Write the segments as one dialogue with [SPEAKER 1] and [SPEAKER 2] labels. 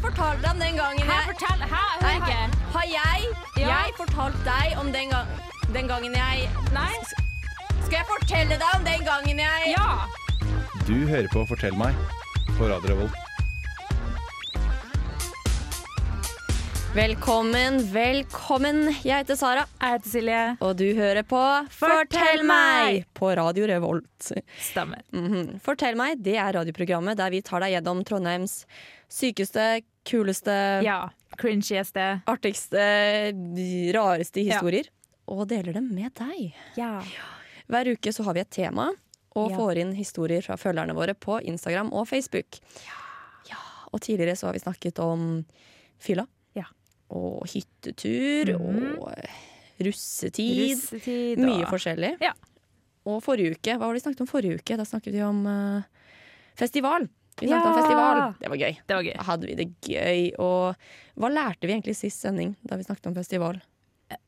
[SPEAKER 1] fortalte deg om den gangen
[SPEAKER 2] Hæ,
[SPEAKER 1] jeg
[SPEAKER 2] fortell! Hæ,
[SPEAKER 1] Nei,
[SPEAKER 2] jeg hører ikke.
[SPEAKER 1] har, har jeg,
[SPEAKER 2] Ja.
[SPEAKER 1] jeg fortalt deg om den, gang, den gangen jeg
[SPEAKER 2] Nei?
[SPEAKER 1] Skal jeg fortelle deg om den gangen jeg
[SPEAKER 2] Ja!
[SPEAKER 3] Du hører på Fortell meg på Radio Revolt.
[SPEAKER 1] Velkommen, velkommen. Jeg heter Sara,
[SPEAKER 2] Jeg heter Silje.
[SPEAKER 1] og du hører på
[SPEAKER 2] Fortell meg!
[SPEAKER 1] på Radio Revolt.
[SPEAKER 2] Stemmer.
[SPEAKER 1] Mhm. Fortell meg, det er radioprogrammet der vi tar deg gjennom Trondheims sykeste, kuleste,
[SPEAKER 2] Ja. Cringieste.
[SPEAKER 1] artigste, rareste historier. Og deler dem med deg.
[SPEAKER 2] Ja.
[SPEAKER 1] Hver uke så har vi et tema, og
[SPEAKER 2] Ja.
[SPEAKER 1] får inn historier fra følgerne våre på Instagram og Facebook. Ja, og tidligere så har vi snakket om fylla.
[SPEAKER 2] Ja.
[SPEAKER 1] Og hyttetur,
[SPEAKER 2] Mhm.
[SPEAKER 1] og russetid.
[SPEAKER 2] Russetid og
[SPEAKER 1] Mye forskjellig.
[SPEAKER 2] Ja.
[SPEAKER 1] Og forrige uke, hva var det vi snakket om forrige uke? Da snakket vi om eh, festival. Vi snakket om
[SPEAKER 2] Ja.
[SPEAKER 1] festival. Det var gøy.
[SPEAKER 2] Det var gøy.
[SPEAKER 1] Da hadde vi det gøy. Og hva lærte vi egentlig sist sending da vi snakket om festival?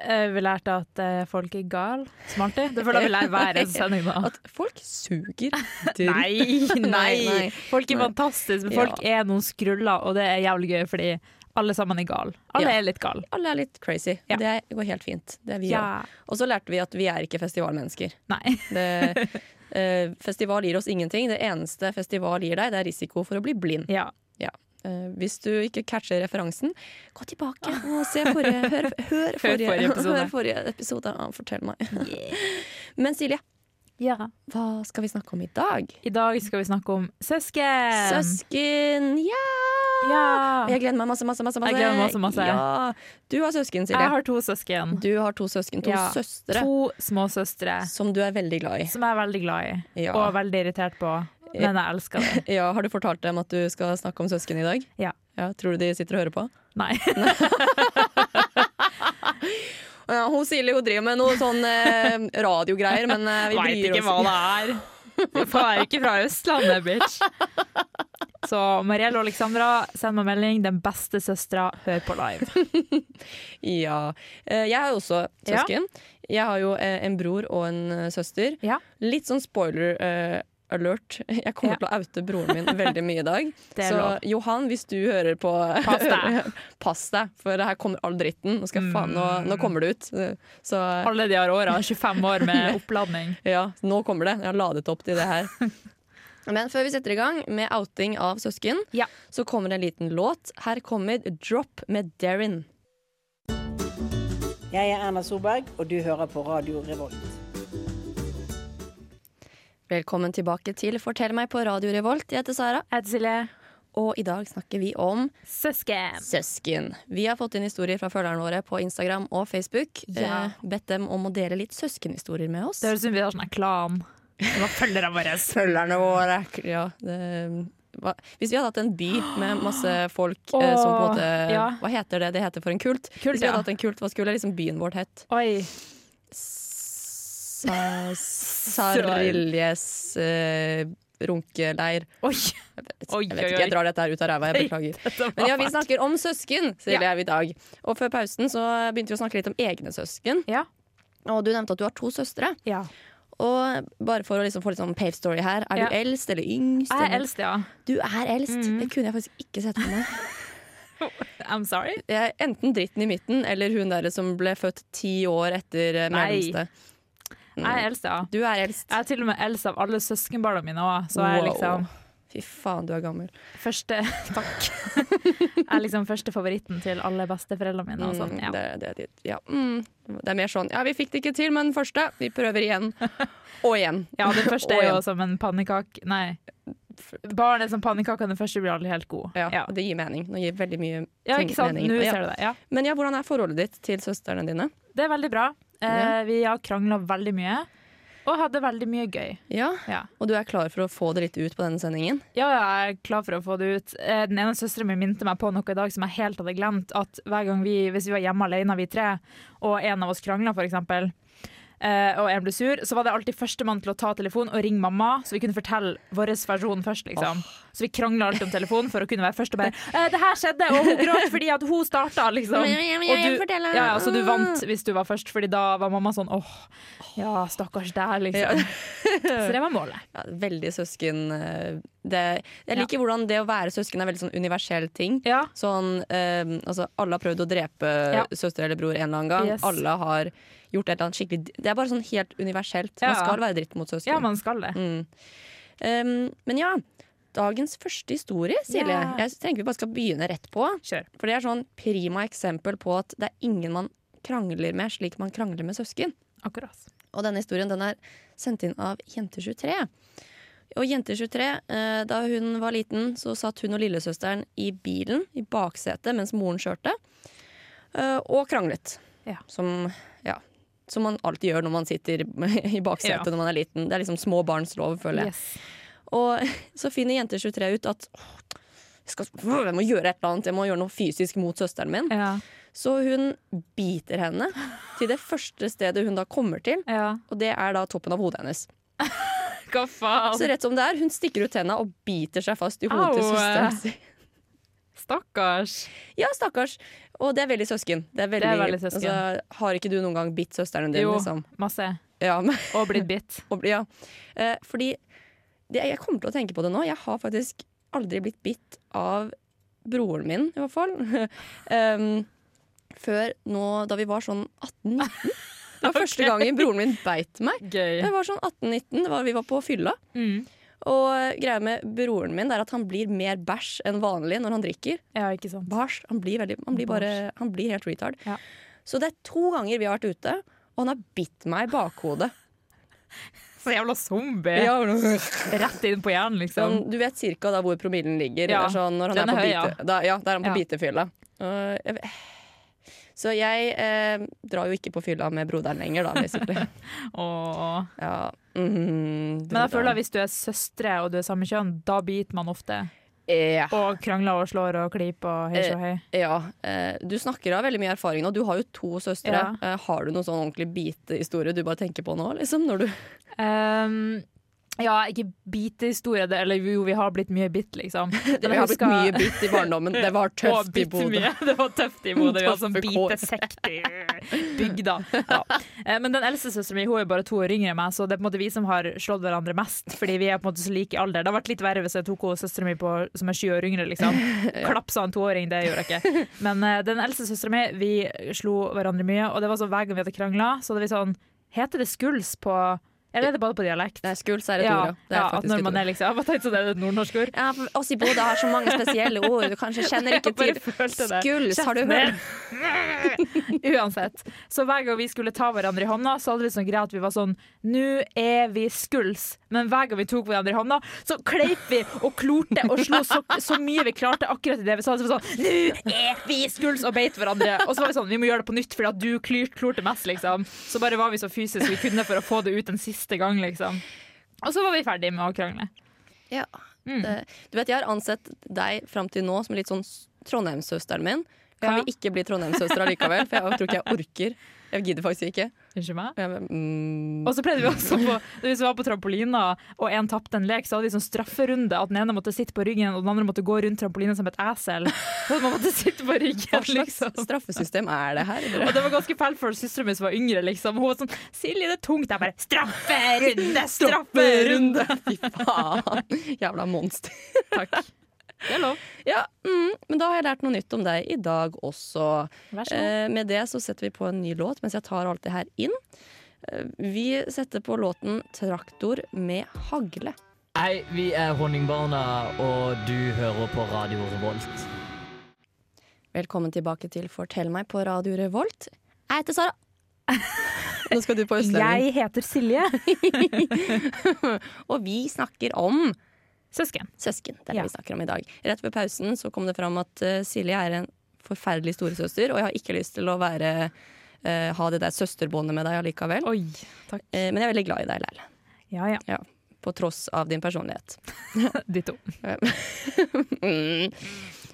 [SPEAKER 2] Eh, Vi lærte at eh, folk er gal som alltid. Det føler jeg vi lærer hver eneste sending nå.
[SPEAKER 1] At folk suger dritt.
[SPEAKER 2] Nei, nei!
[SPEAKER 1] nei.
[SPEAKER 2] Folk er
[SPEAKER 1] Nei.
[SPEAKER 2] fantastiske, men folk er noen skruller, og det er jævlig gøy fordi alle sammen er gal. Alle
[SPEAKER 1] Ja.
[SPEAKER 2] er litt gal.
[SPEAKER 1] Alle er litt crazy.
[SPEAKER 2] Ja.
[SPEAKER 1] Det går helt fint. Det er vi òg. Og så lærte vi at vi er ikke festivalmennesker.
[SPEAKER 2] Nei.
[SPEAKER 1] Det, eh, festival gir oss ingenting. Det eneste festival gir deg, det er risiko for å bli blind.
[SPEAKER 2] Ja.
[SPEAKER 1] Eh, hvis du ikke catcher referansen, gå tilbake og se forrige, hør, hør forrige,
[SPEAKER 2] forrige episode.
[SPEAKER 1] Hør forrige episode. Ja, fortell meg. Men Silje,
[SPEAKER 2] ja.
[SPEAKER 1] hva skal vi snakke om i dag?
[SPEAKER 2] I dag skal vi snakke om søsken.
[SPEAKER 1] Søsken! Ja!
[SPEAKER 2] Ja.
[SPEAKER 1] Jeg gleder meg masse, masse, masse. masse.
[SPEAKER 2] Jeg gleder meg masse, masse.
[SPEAKER 1] Ja. Du har søsken, Silje.
[SPEAKER 2] Jeg har to søsken.
[SPEAKER 1] Du har to søsken. To
[SPEAKER 2] Ja.
[SPEAKER 1] søstre.
[SPEAKER 2] To småsøstre
[SPEAKER 1] Som du er veldig glad i.
[SPEAKER 2] som jeg er veldig glad i,
[SPEAKER 1] Ja.
[SPEAKER 2] og veldig irritert på, men jeg elsker dem.
[SPEAKER 1] Ja, har du fortalt dem at du skal snakke om søsken i dag?
[SPEAKER 2] Ja.
[SPEAKER 1] Tror du de sitter og hører på?
[SPEAKER 2] Nei.
[SPEAKER 1] Ja, hun Silje hun driver med noe sånn eh, radiogreier, men eh, vi
[SPEAKER 2] Veit
[SPEAKER 1] bryr
[SPEAKER 2] ikke
[SPEAKER 1] oss
[SPEAKER 2] hva det er. For jeg er ikke fra Østlandet, bitch. Så Marielle og Alexandra, send meg melding. Den beste søstera, hør på live.
[SPEAKER 1] Ja. Eh, Jeg har jo også
[SPEAKER 2] Ja.
[SPEAKER 1] søsken. Jeg har jo eh, en bror og en eh, søster.
[SPEAKER 2] Ja.
[SPEAKER 1] Litt sånn spoiler eh, alert. Jeg kommer
[SPEAKER 2] Ja.
[SPEAKER 1] til å oute broren min veldig mye i dag.
[SPEAKER 2] Det er
[SPEAKER 1] Så
[SPEAKER 2] lov.
[SPEAKER 1] Johan, hvis du hører på
[SPEAKER 2] Pass deg.
[SPEAKER 1] Pass deg, for her kommer all dritten. Nå, skal jeg faen, nå, nå kommer det ut. Så
[SPEAKER 2] Alle de her åra, 25 år med oppladning.
[SPEAKER 1] ja, nå kommer det. Jeg har ladet opp til det her. Men før vi setter i gang med outing av søsken,
[SPEAKER 2] Ja.
[SPEAKER 1] så kommer en liten låt. Her kommer 'Drop' med Derrin.
[SPEAKER 4] Jeg er Erna Solberg, og du hører på Radio Revolt.
[SPEAKER 1] Velkommen tilbake til Fortell meg på Radio Revolt. Jeg heter Sara,
[SPEAKER 2] Jeg heter Silje.
[SPEAKER 1] og i dag snakker vi om
[SPEAKER 2] Søsken.
[SPEAKER 1] søsken. Vi har fått inn historier fra følgerne våre på Instagram og Facebook.
[SPEAKER 2] Ja.
[SPEAKER 1] Eh, bedt dem om å dele litt søskenhistorier med oss.
[SPEAKER 2] Det høres ut som vi har sånn en klan. Det var følgerne våre.
[SPEAKER 1] følgerne våre. Ja, det, hva, hvis vi hadde hatt en by med masse folk eh, som på en måte
[SPEAKER 2] Åh, ja.
[SPEAKER 1] Hva heter det det heter for en kult?
[SPEAKER 2] Kult,
[SPEAKER 1] hvis vi
[SPEAKER 2] ja.
[SPEAKER 1] hadde hatt en kult, hva skulle liksom byen vår hett?
[SPEAKER 2] Oi.
[SPEAKER 1] Sa- Sariljes eh, runkeleir.
[SPEAKER 2] Oi. Oi,
[SPEAKER 1] Jeg
[SPEAKER 2] oi,
[SPEAKER 1] vet ikke,
[SPEAKER 2] oi.
[SPEAKER 1] jeg drar dette her ut av ræva, jeg beklager.
[SPEAKER 2] Dette var
[SPEAKER 1] Men ja, vi
[SPEAKER 2] fælt.
[SPEAKER 1] snakker om søsken, sier jeg i dag. Og før pausen så begynte vi å snakke litt om egne søsken.
[SPEAKER 2] Ja.
[SPEAKER 1] Og du nevnte at du har to søstre.
[SPEAKER 2] ja.
[SPEAKER 1] Og bare for å liksom få litt sånn pave story her, er
[SPEAKER 2] Ja.
[SPEAKER 1] du eldst eller yngst?
[SPEAKER 2] Jeg er
[SPEAKER 1] eller-
[SPEAKER 2] eldst, ja.
[SPEAKER 1] Du er eldst. Det kunne jeg faktisk ikke sett for meg.
[SPEAKER 2] I'm sorry.
[SPEAKER 1] Jeg er enten dritten i midten eller hun der som ble født ti år etter eh,
[SPEAKER 2] Nei.
[SPEAKER 1] mellomste.
[SPEAKER 2] Jeg er eldst, ja.
[SPEAKER 1] Du er eldst.
[SPEAKER 2] Jeg er til og med eldst av alle søskenbarna mine òg, så jeg er
[SPEAKER 1] Wow.
[SPEAKER 2] liksom
[SPEAKER 1] Fy faen, du er gammel.
[SPEAKER 2] Første, takk. Jeg er liksom første favoritten til alle besteforeldrene mine. Og sånn,
[SPEAKER 1] Mm,
[SPEAKER 2] ja.
[SPEAKER 1] det, det, det, ja. mm. det er mer sånn Ja, vi fikk det ikke til, men første. Vi prøver igjen. Og igjen.
[SPEAKER 2] ja, den første
[SPEAKER 1] Og
[SPEAKER 2] er jo
[SPEAKER 1] igjen.
[SPEAKER 2] som en pannekake Nei. Barn er som pannekaker, den første blir aldri helt god.
[SPEAKER 1] Ja,
[SPEAKER 2] ja.
[SPEAKER 1] Det gir mening. Nå gir veldig mye
[SPEAKER 2] Ja,
[SPEAKER 1] ting
[SPEAKER 2] ikke sant?
[SPEAKER 1] mening.
[SPEAKER 2] Nå
[SPEAKER 1] Ja.
[SPEAKER 2] ser du det. Ja.
[SPEAKER 1] Men ja, hvordan er forholdet ditt til søstrene dine?
[SPEAKER 2] Det er veldig bra. Eh,
[SPEAKER 1] Ja.
[SPEAKER 2] vi har krangla veldig mye, og hadde veldig mye gøy.
[SPEAKER 1] Ja,
[SPEAKER 2] Ja.
[SPEAKER 1] Og du er klar for å få det litt ut på denne sendingen?
[SPEAKER 2] Ja, ja, jeg er klar for å få det ut. Eh, Den ene søsteren min minte meg på noe i dag som jeg helt hadde glemt. At hver gang vi, hvis vi var hjemme alene, vi tre, og en av oss krangla f.eks., eh, og jeg ble sur, så var det alltid førstemann til å ta telefonen og ringe mamma, så vi kunne fortelle vår versjon først, liksom. Så vi krangla alltid om telefonen for å kunne være først og bare eh, 'Det her skjedde', og hun gråt fordi at hun starta, liksom.
[SPEAKER 1] Ja, ja, ja,
[SPEAKER 2] Og
[SPEAKER 1] jeg
[SPEAKER 2] du-
[SPEAKER 1] forteller.
[SPEAKER 2] ja, ja, så du vant hvis du var først, fordi da var mamma sånn 'Åh, ja, stakkars deg', liksom. Så det var målet.
[SPEAKER 1] Ja, veldig søsken eh, det, Jeg liker hvordan det å være søsken er veldig sånn universell ting.
[SPEAKER 2] Ja.
[SPEAKER 1] Sånn, eh, altså, alle har prøvd å drepe
[SPEAKER 2] Ja.
[SPEAKER 1] søster eller bror en eller annen gang.
[SPEAKER 2] Yes.
[SPEAKER 1] Alle har gjort et eller annet skikkelig d- Det er bare sånn helt universelt.
[SPEAKER 2] Ja.
[SPEAKER 1] Man skal være dritt mot søsken.
[SPEAKER 2] Ja, man skal det.
[SPEAKER 1] Mm. Um, men ja, dagens første historie, Silje.
[SPEAKER 2] Ja.
[SPEAKER 1] Jeg tenker vi bare skal begynne rett på.
[SPEAKER 2] Kjør.
[SPEAKER 1] For det er sånn prima eksempel på at det er ingen man krangler med slik man krangler med søsken.
[SPEAKER 2] Akkurat.
[SPEAKER 1] Og denne historien den er sendt inn av Jente23. Og Jente23, eh, da hun var liten, så satt hun og lillesøsteren i bilen i baksetet mens moren kjørte, eh, og kranglet.
[SPEAKER 2] Ja.
[SPEAKER 1] Som, ja, som man alltid gjør når man sitter i baksetet
[SPEAKER 2] Ja.
[SPEAKER 1] når man er liten. Det er liksom små barns lov, føler jeg.
[SPEAKER 2] Yes.
[SPEAKER 1] Og så finner Jente23 ut at «Åh, jeg, skal, jeg må gjøre et eller annet, jeg må gjøre noe fysisk mot søsteren min.
[SPEAKER 2] Ja.
[SPEAKER 1] Så hun biter henne til det første stedet hun da kommer til,
[SPEAKER 2] ja.
[SPEAKER 1] og det er da toppen av hodet hennes.
[SPEAKER 2] Hva faen?
[SPEAKER 1] Så rett som det er, hun stikker ut henda og biter seg fast i hodet til
[SPEAKER 2] Au.
[SPEAKER 1] søsteren sin.
[SPEAKER 2] Stakkars.
[SPEAKER 1] Ja, stakkars. Og det er veldig søsken. Det er veldig,
[SPEAKER 2] veldig søsken.
[SPEAKER 1] Altså, har ikke du noen gang bitt søsteren din,
[SPEAKER 2] Jo,
[SPEAKER 1] liksom?
[SPEAKER 2] masse.
[SPEAKER 1] Ja, men,
[SPEAKER 2] Og blitt bitt.
[SPEAKER 1] og, ja. Eh, fordi det, Jeg kommer til å tenke på det nå. Jeg har faktisk aldri blitt bitt av broren min, i hvert fall. um, før nå, da vi var sånn 18-19. Det var første gangen broren min beit meg.
[SPEAKER 2] Gøy.
[SPEAKER 1] Jeg var sånn 18-19, det var- vi var på fylla.
[SPEAKER 2] Mm.
[SPEAKER 1] Og eh, greia med broren min det er at han blir mer bæsj enn vanlig når han drikker.
[SPEAKER 2] Ja, ikke sant.
[SPEAKER 1] Bæsj, han blir, veldig, han blir, bare, han blir helt retard.
[SPEAKER 2] Ja.
[SPEAKER 1] Så det er to ganger vi har vært ute, og han har bitt meg i bakhodet.
[SPEAKER 2] Så jævla zombie.
[SPEAKER 1] Ja,
[SPEAKER 2] Rett inn på hjernen, liksom.
[SPEAKER 1] Sånn, du vet cirka da hvor promillen ligger.
[SPEAKER 2] Ja,
[SPEAKER 1] eller Sånn, når han
[SPEAKER 2] den
[SPEAKER 1] er,
[SPEAKER 2] er
[SPEAKER 1] på
[SPEAKER 2] høy, ja.
[SPEAKER 1] bite, da, ja, da er han på
[SPEAKER 2] Ja.
[SPEAKER 1] bitefylla. Og jeg vet- så jeg eh, drar jo ikke på fylla med broderen lenger, da, basically.
[SPEAKER 2] Åh.
[SPEAKER 1] Ja. mhm,
[SPEAKER 2] Men jeg føler at
[SPEAKER 1] broderen.
[SPEAKER 2] hvis du er søstre og du er samme kjønn, da biter man ofte.
[SPEAKER 1] ja,
[SPEAKER 2] Og krangler og slår og klyper og hei så hei.
[SPEAKER 1] ja. Eh, Du snakker av veldig mye erfaring nå. Du har jo to søstre.
[SPEAKER 2] Ja.
[SPEAKER 1] Eh, Har du noen sånn ordentlig bitehistorie du bare tenker på nå? Liksom, når du
[SPEAKER 2] Ehm, ja, ikke bitehistorie, det- eller jo, vi har blitt mye bitt, liksom. Men
[SPEAKER 1] Det
[SPEAKER 2] jeg
[SPEAKER 1] har blitt
[SPEAKER 2] husker-
[SPEAKER 1] mye bitt i barndommen. Det var
[SPEAKER 2] Å,
[SPEAKER 1] tøft i
[SPEAKER 2] bitte
[SPEAKER 1] Bodø.
[SPEAKER 2] mye. Det var tøft i Bodø. Vi var sånn
[SPEAKER 1] Tøffe kår.
[SPEAKER 2] bitesekt i bygda. Ja. Eh, Men den eldste søsteren min hun er bare to år yngre enn meg, så det er på en måte vi som har slått hverandre mest. Fordi vi er på en måte så like i alder. Det hadde vært litt verre hvis jeg tok henne søsteren min på, som er sju år yngre. liksom. Klapsa en toåring, det gjorde jeg ikke. Men eh, den eldste søsteren min, vi slo hverandre mye, og det var sånn hver gang vi hadde krangla, så hadde vi sånn Heter det skuls på Eller er det bare på dialekt?
[SPEAKER 1] Det er skuls er et
[SPEAKER 2] ja,
[SPEAKER 1] ord, ja. Det er
[SPEAKER 2] ja, at
[SPEAKER 1] faktisk
[SPEAKER 2] når
[SPEAKER 1] et
[SPEAKER 2] man
[SPEAKER 1] ord.
[SPEAKER 2] er liksom, jeg bare tenkte sånn, er det et nordnorsk ord?
[SPEAKER 1] Ja, for oss i Bodø har så mange spesielle ord. Du kanskje kjenner ikke
[SPEAKER 2] Jeg
[SPEAKER 1] til
[SPEAKER 2] bare følte det.
[SPEAKER 1] Skuls, har du
[SPEAKER 2] Kjeft
[SPEAKER 1] hørt?
[SPEAKER 2] ned. Uansett. Så hver gang vi skulle ta hverandre i hånda, så hadde vi sånn greie at vi var sånn Nå er vi skuls. Men hver gang vi tok hverandre i hånda, så kleip vi og klorte og slo så, så mye vi klarte akkurat i det vi sa. Så vi var sånn Nå er vi skuls! Og beit hverandre. Og så var vi sånn Vi må gjøre det på nytt fordi at du klyrt, klorte mest, liksom. Så bare var vi så fysisk vi kunne for å få det ut en siste gang, liksom. Og så var vi ferdig med å krangle.
[SPEAKER 1] Ja.
[SPEAKER 2] Mm.
[SPEAKER 1] Det, du vet, jeg har ansett deg fram til nå som litt sånn s- Trondheimssøsteren min. Kan
[SPEAKER 2] Ja.
[SPEAKER 1] vi ikke bli Trondheimssøstre likevel? For jeg tror ikke jeg orker. Jeg gidder faktisk ikke.
[SPEAKER 2] Unnskyld meg?
[SPEAKER 1] Jeg, mm,
[SPEAKER 2] Og så pleide vi også på, Hvis vi var på trampolina og en tapte en lek, så hadde vi sånn strafferunde. At den ene måtte sitte på ryggen, og den andre måtte gå rundt trampolina som et esel. Så at man måtte sitte på
[SPEAKER 1] hva
[SPEAKER 2] ryggen,
[SPEAKER 1] slags
[SPEAKER 2] liksom.
[SPEAKER 1] straffesystem er det her?
[SPEAKER 2] Og det var ganske fælt for søstera mi som var yngre. liksom Hun var sånn 'Silje, det er tungt.' Jeg bare 'Strafferunde! Strafferunde!'
[SPEAKER 1] Fy faen. Jævla monster.
[SPEAKER 2] Takk. Det er lov.
[SPEAKER 1] Ja, mm, men da har jeg lært noe nytt om deg i dag også.
[SPEAKER 2] Vær så god.
[SPEAKER 1] Eh, med det så setter vi på en ny låt mens jeg tar alt det her inn. Eh, vi setter på låten 'Traktor med hagle'.
[SPEAKER 5] Hei, vi er Honningbarna, og du hører på Radio Revolt.
[SPEAKER 1] Velkommen tilbake til Fortell meg på Radio Revolt. Jeg heter Sara. Nå skal du på Østlending.
[SPEAKER 2] Jeg heter Silje.
[SPEAKER 1] Og vi snakker om
[SPEAKER 2] Søsken.
[SPEAKER 1] søsken. Det er det
[SPEAKER 2] Ja.
[SPEAKER 1] vi snakker om i dag. Rett ved pausen så kom det fram at eh, Silje er en forferdelig storesøster, og jeg har ikke lyst til å være eh, ha det der søsterbåndet med deg allikevel.
[SPEAKER 2] Oi. Takk.
[SPEAKER 1] Eh, men jeg er veldig glad i deg, Lell.
[SPEAKER 2] Ja ja.
[SPEAKER 1] Ja. På tross av din personlighet.
[SPEAKER 2] Ditto.
[SPEAKER 1] Mm.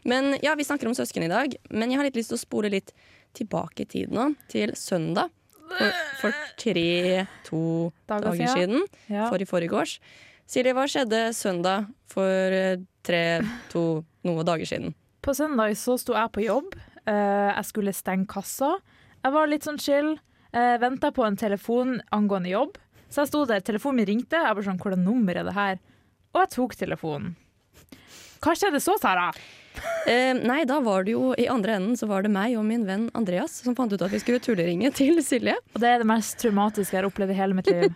[SPEAKER 1] Men ja, vi snakker om søsken i dag, men jeg har litt lyst til å spole litt tilbake i tid nå, til søndag. for, for tre-to
[SPEAKER 2] Dager
[SPEAKER 1] dager siden.
[SPEAKER 2] Ja.
[SPEAKER 1] For i forgårs. Silje, hva skjedde søndag for eh, tre-to noe dager siden?
[SPEAKER 2] På søndag så sto jeg på jobb. Eh, jeg skulle stenge kassa. Jeg var litt sånn chill. Uh, Venta på en telefon angående jobb. Så jeg sto der, telefonen min ringte. Jeg bare sånn, hvordan nummer er det her? Og jeg tok telefonen. Hva skjedde så, Sara?
[SPEAKER 1] Eh, nei, da var det jo i andre enden så var det meg og min venn Andreas som fant ut at vi skulle tulleringe til Silje.
[SPEAKER 2] Og det er det mest traumatiske jeg har opplevd i hele mitt liv.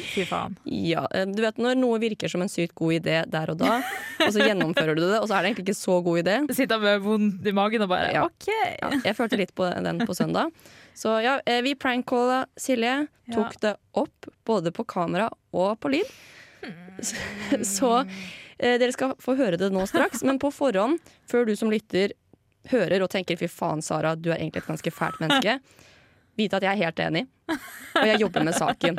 [SPEAKER 2] Fy faen.
[SPEAKER 1] Ja, eh, du vet når noe virker som en sykt god idé der og da, og så gjennomfører du det, og så er det egentlig ikke så god idé.
[SPEAKER 2] Sitter med vondt i magen og bare
[SPEAKER 1] Ja.
[SPEAKER 2] OK.
[SPEAKER 1] Ja, jeg følte litt på den på søndag. Så ja, eh, vi prankcalla Silje. Tok det opp både på kamera og på lyd. Så,
[SPEAKER 2] Hmm.
[SPEAKER 1] så eh, dere skal få høre det nå straks, men på forhånd, før du som lytter hører og tenker 'fy faen, Sara, du er egentlig et ganske fælt menneske', vite at jeg er helt enig, og jeg jobber med saken.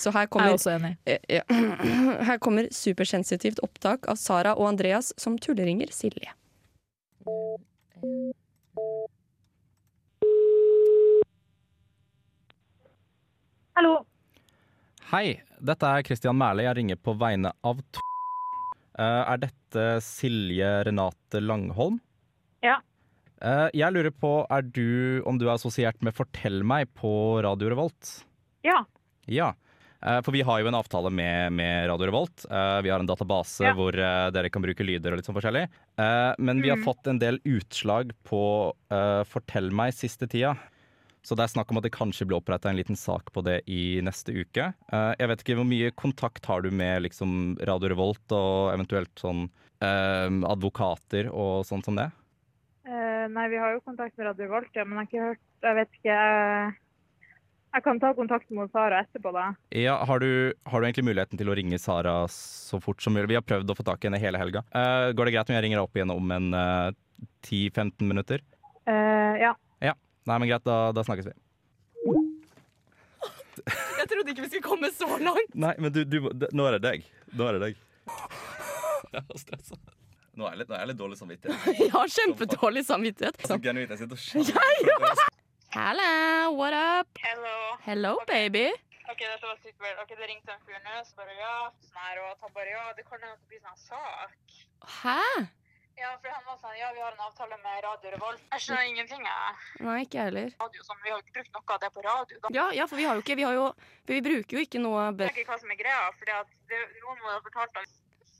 [SPEAKER 1] Så her
[SPEAKER 2] Jeg er
[SPEAKER 1] kommer,
[SPEAKER 2] også enig.
[SPEAKER 1] eh, ja, her kommer supersensitivt opptak av Sara og Andreas som tulleringer Silje.
[SPEAKER 6] Hallo.
[SPEAKER 3] Hei, dette er Christian Mæhle. Jeg ringer på vegne av to. Eh, Er dette Silje Renate Langholm?
[SPEAKER 6] Ja.
[SPEAKER 3] Eh, Jeg lurer på er du, om du er assosiert med Fortell meg på Radio Revolt?
[SPEAKER 6] Ja.
[SPEAKER 3] Ja. Eh, For vi har jo en avtale med, med Radio Revolt. Eh, Vi har en database
[SPEAKER 6] Ja.
[SPEAKER 3] hvor eh, dere kan bruke lyder og litt sånn forskjellig. Eh, Men vi har
[SPEAKER 6] Mhm.
[SPEAKER 3] fått en del utslag på eh, Fortell meg siste tida. Så det er snakk om at det kanskje blir oppretta en liten sak på det i neste uke. Eh, Jeg vet ikke hvor mye kontakt har du med liksom Radio Revolt og eventuelt sånn eh, advokater og sånt som det?
[SPEAKER 6] Eh, nei, vi har jo kontakt med Radio Volt, ja, men jeg har ikke hørt Jeg vet ikke eh, Jeg kan ta kontakt med Sara etterpå, da.
[SPEAKER 3] Ja, har du, har du egentlig muligheten til å ringe Sara så fort som mulig? Vi har prøvd å få tak i henne hele helga. Eh, går det greit om jeg ringer deg opp igjen om en eh, 10-15 minutter?
[SPEAKER 6] Eh, ja.
[SPEAKER 3] Nei, men greit, da, da snakkes vi.
[SPEAKER 2] Jeg trodde ikke vi skulle komme så langt.
[SPEAKER 3] Nei, men du, nå er det deg. Nå er det deg. Jeg er stressa. Nå er jeg litt, dårlig samvittighet.
[SPEAKER 1] Jeg har kjempedårlig samvittighet.
[SPEAKER 3] Genuint, jeg sitter og skjelver.
[SPEAKER 1] Hello, what up?
[SPEAKER 6] Hello.
[SPEAKER 1] Hello, baby.
[SPEAKER 6] OK, dette var sykt vel. OK, det ringte en fyr nå, så bare ja. Sånn her, og han bare ja, det kan hende at det blir sånn sak.
[SPEAKER 1] Hæ?
[SPEAKER 6] Ja, for han var sånn ja, vi har en avtale med Radio Revolt. Jeg skjønner ingenting, jeg.
[SPEAKER 1] Nei, ikke jeg heller.
[SPEAKER 6] Radio som Vi har jo ikke brukt noe av det på radio, da.
[SPEAKER 1] Ja, ja, for vi har jo ikke Vi, har jo, for vi bruker jo ikke noe
[SPEAKER 6] Jeg
[SPEAKER 1] be-
[SPEAKER 6] vet ikke hva som er greia, for noen må ha fortalt det.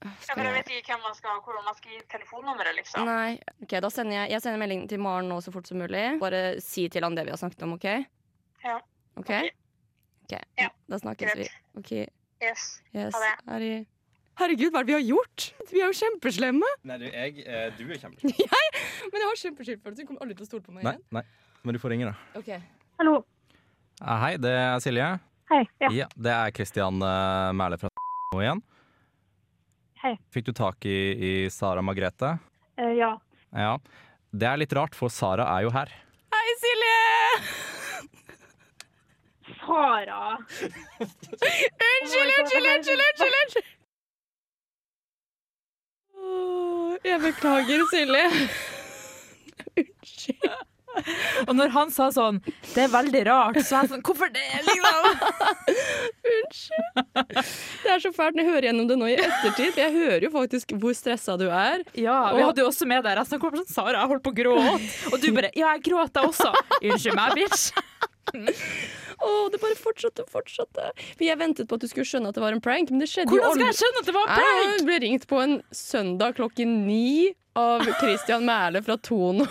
[SPEAKER 6] Jeg
[SPEAKER 1] Skal
[SPEAKER 6] bare
[SPEAKER 1] jeg-
[SPEAKER 6] vet ikke hvem man skal, hvordan man skal gi telefonnummeret, liksom.
[SPEAKER 1] Nei. Ok, da sender jeg, jeg sender melding til Maren nå så fort som mulig. Bare si til han det vi har snakket om, OK?
[SPEAKER 6] Ja.
[SPEAKER 1] OK? Ok,
[SPEAKER 6] Ja.
[SPEAKER 1] Da snakkes vi.
[SPEAKER 6] Greit.
[SPEAKER 1] OK.
[SPEAKER 6] Yes.
[SPEAKER 1] Yes.
[SPEAKER 6] Ha det.
[SPEAKER 1] Harry. Herregud, hva er det vi har gjort? Vi er jo kjempeslemme.
[SPEAKER 3] Nei, du, jeg, eh, du er kjempeflink.
[SPEAKER 1] Men jeg har kjempeskyldfølelse. Kommer aldri til å stole på meg
[SPEAKER 3] Nei, nei, men du får ringe, da.
[SPEAKER 1] Ok.
[SPEAKER 6] Hallo.
[SPEAKER 3] Eh, Hei, det er Silje.
[SPEAKER 6] Hei. Ja.
[SPEAKER 3] Ja, det er Christian eh, Mæhle fra nå igjen.
[SPEAKER 6] Hei.
[SPEAKER 3] Fikk du tak i, i Sara Margrethe?
[SPEAKER 6] Eh, ja.
[SPEAKER 3] Ja. Det er litt rart, for Sara er jo her.
[SPEAKER 1] Hei, Silje!
[SPEAKER 6] Sara!
[SPEAKER 1] Unnskyld, unnskyld, unnskyld, unnskyld! unnskyld. Åh, Jeg beklager, Silje. Unnskyld.
[SPEAKER 2] Og når han sa sånn, det er veldig rart, så var jeg sånn, hvorfor det, liksom?
[SPEAKER 1] Unnskyld. Det er så fælt når jeg hører gjennom det nå i ettertid, for jeg hører jo faktisk hvor stressa du er.
[SPEAKER 2] Ja, vi hadde jo også med deg resten av korpsen. sånn Sara, jeg holdt på å gråte. Og du bare, ja, jeg gråter også. Unnskyld meg, bitch.
[SPEAKER 1] Å, det bare fortsatte og fortsatte. For jeg ventet på at du skulle skjønne at det var en prank, men det skjedde jo
[SPEAKER 2] Hvordan skal
[SPEAKER 1] aldri.
[SPEAKER 2] jeg skjønne at det var prank?
[SPEAKER 1] Jeg ble ringt på en søndag klokken ni av Christian Mæhle fra Tono.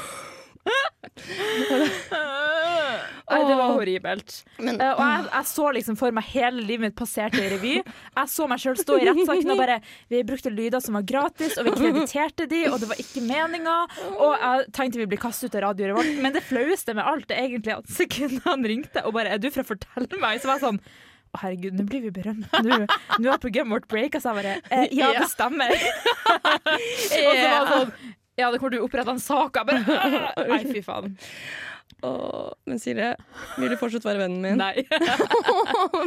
[SPEAKER 2] Nei, det var horribelt. Eh, og jeg, jeg så liksom for meg hele livet mitt passerte i revy. Jeg så meg sjøl stå i rettssaken og bare Vi brukte lyder som var gratis, og vi krediterte de, og det var ikke meninga. Og jeg tenkte vi blir kastet ut av Radio Revolt, men det flaueste med alt er egentlig at sekundet han ringte og bare Er du fra Fortell meg? Så var jeg sånn å herregud, nå blir vi berømt. Nå, nå er programmet vårt breaka, så jeg bare eh, Ja, det stemmer. og så var det sånn Ja, det kommer til å opprette en sak. Jeg bare «Åh!» Nei, fy faen.
[SPEAKER 1] Åh, men Silje, vil du fortsatt være vennen min?
[SPEAKER 2] Nei.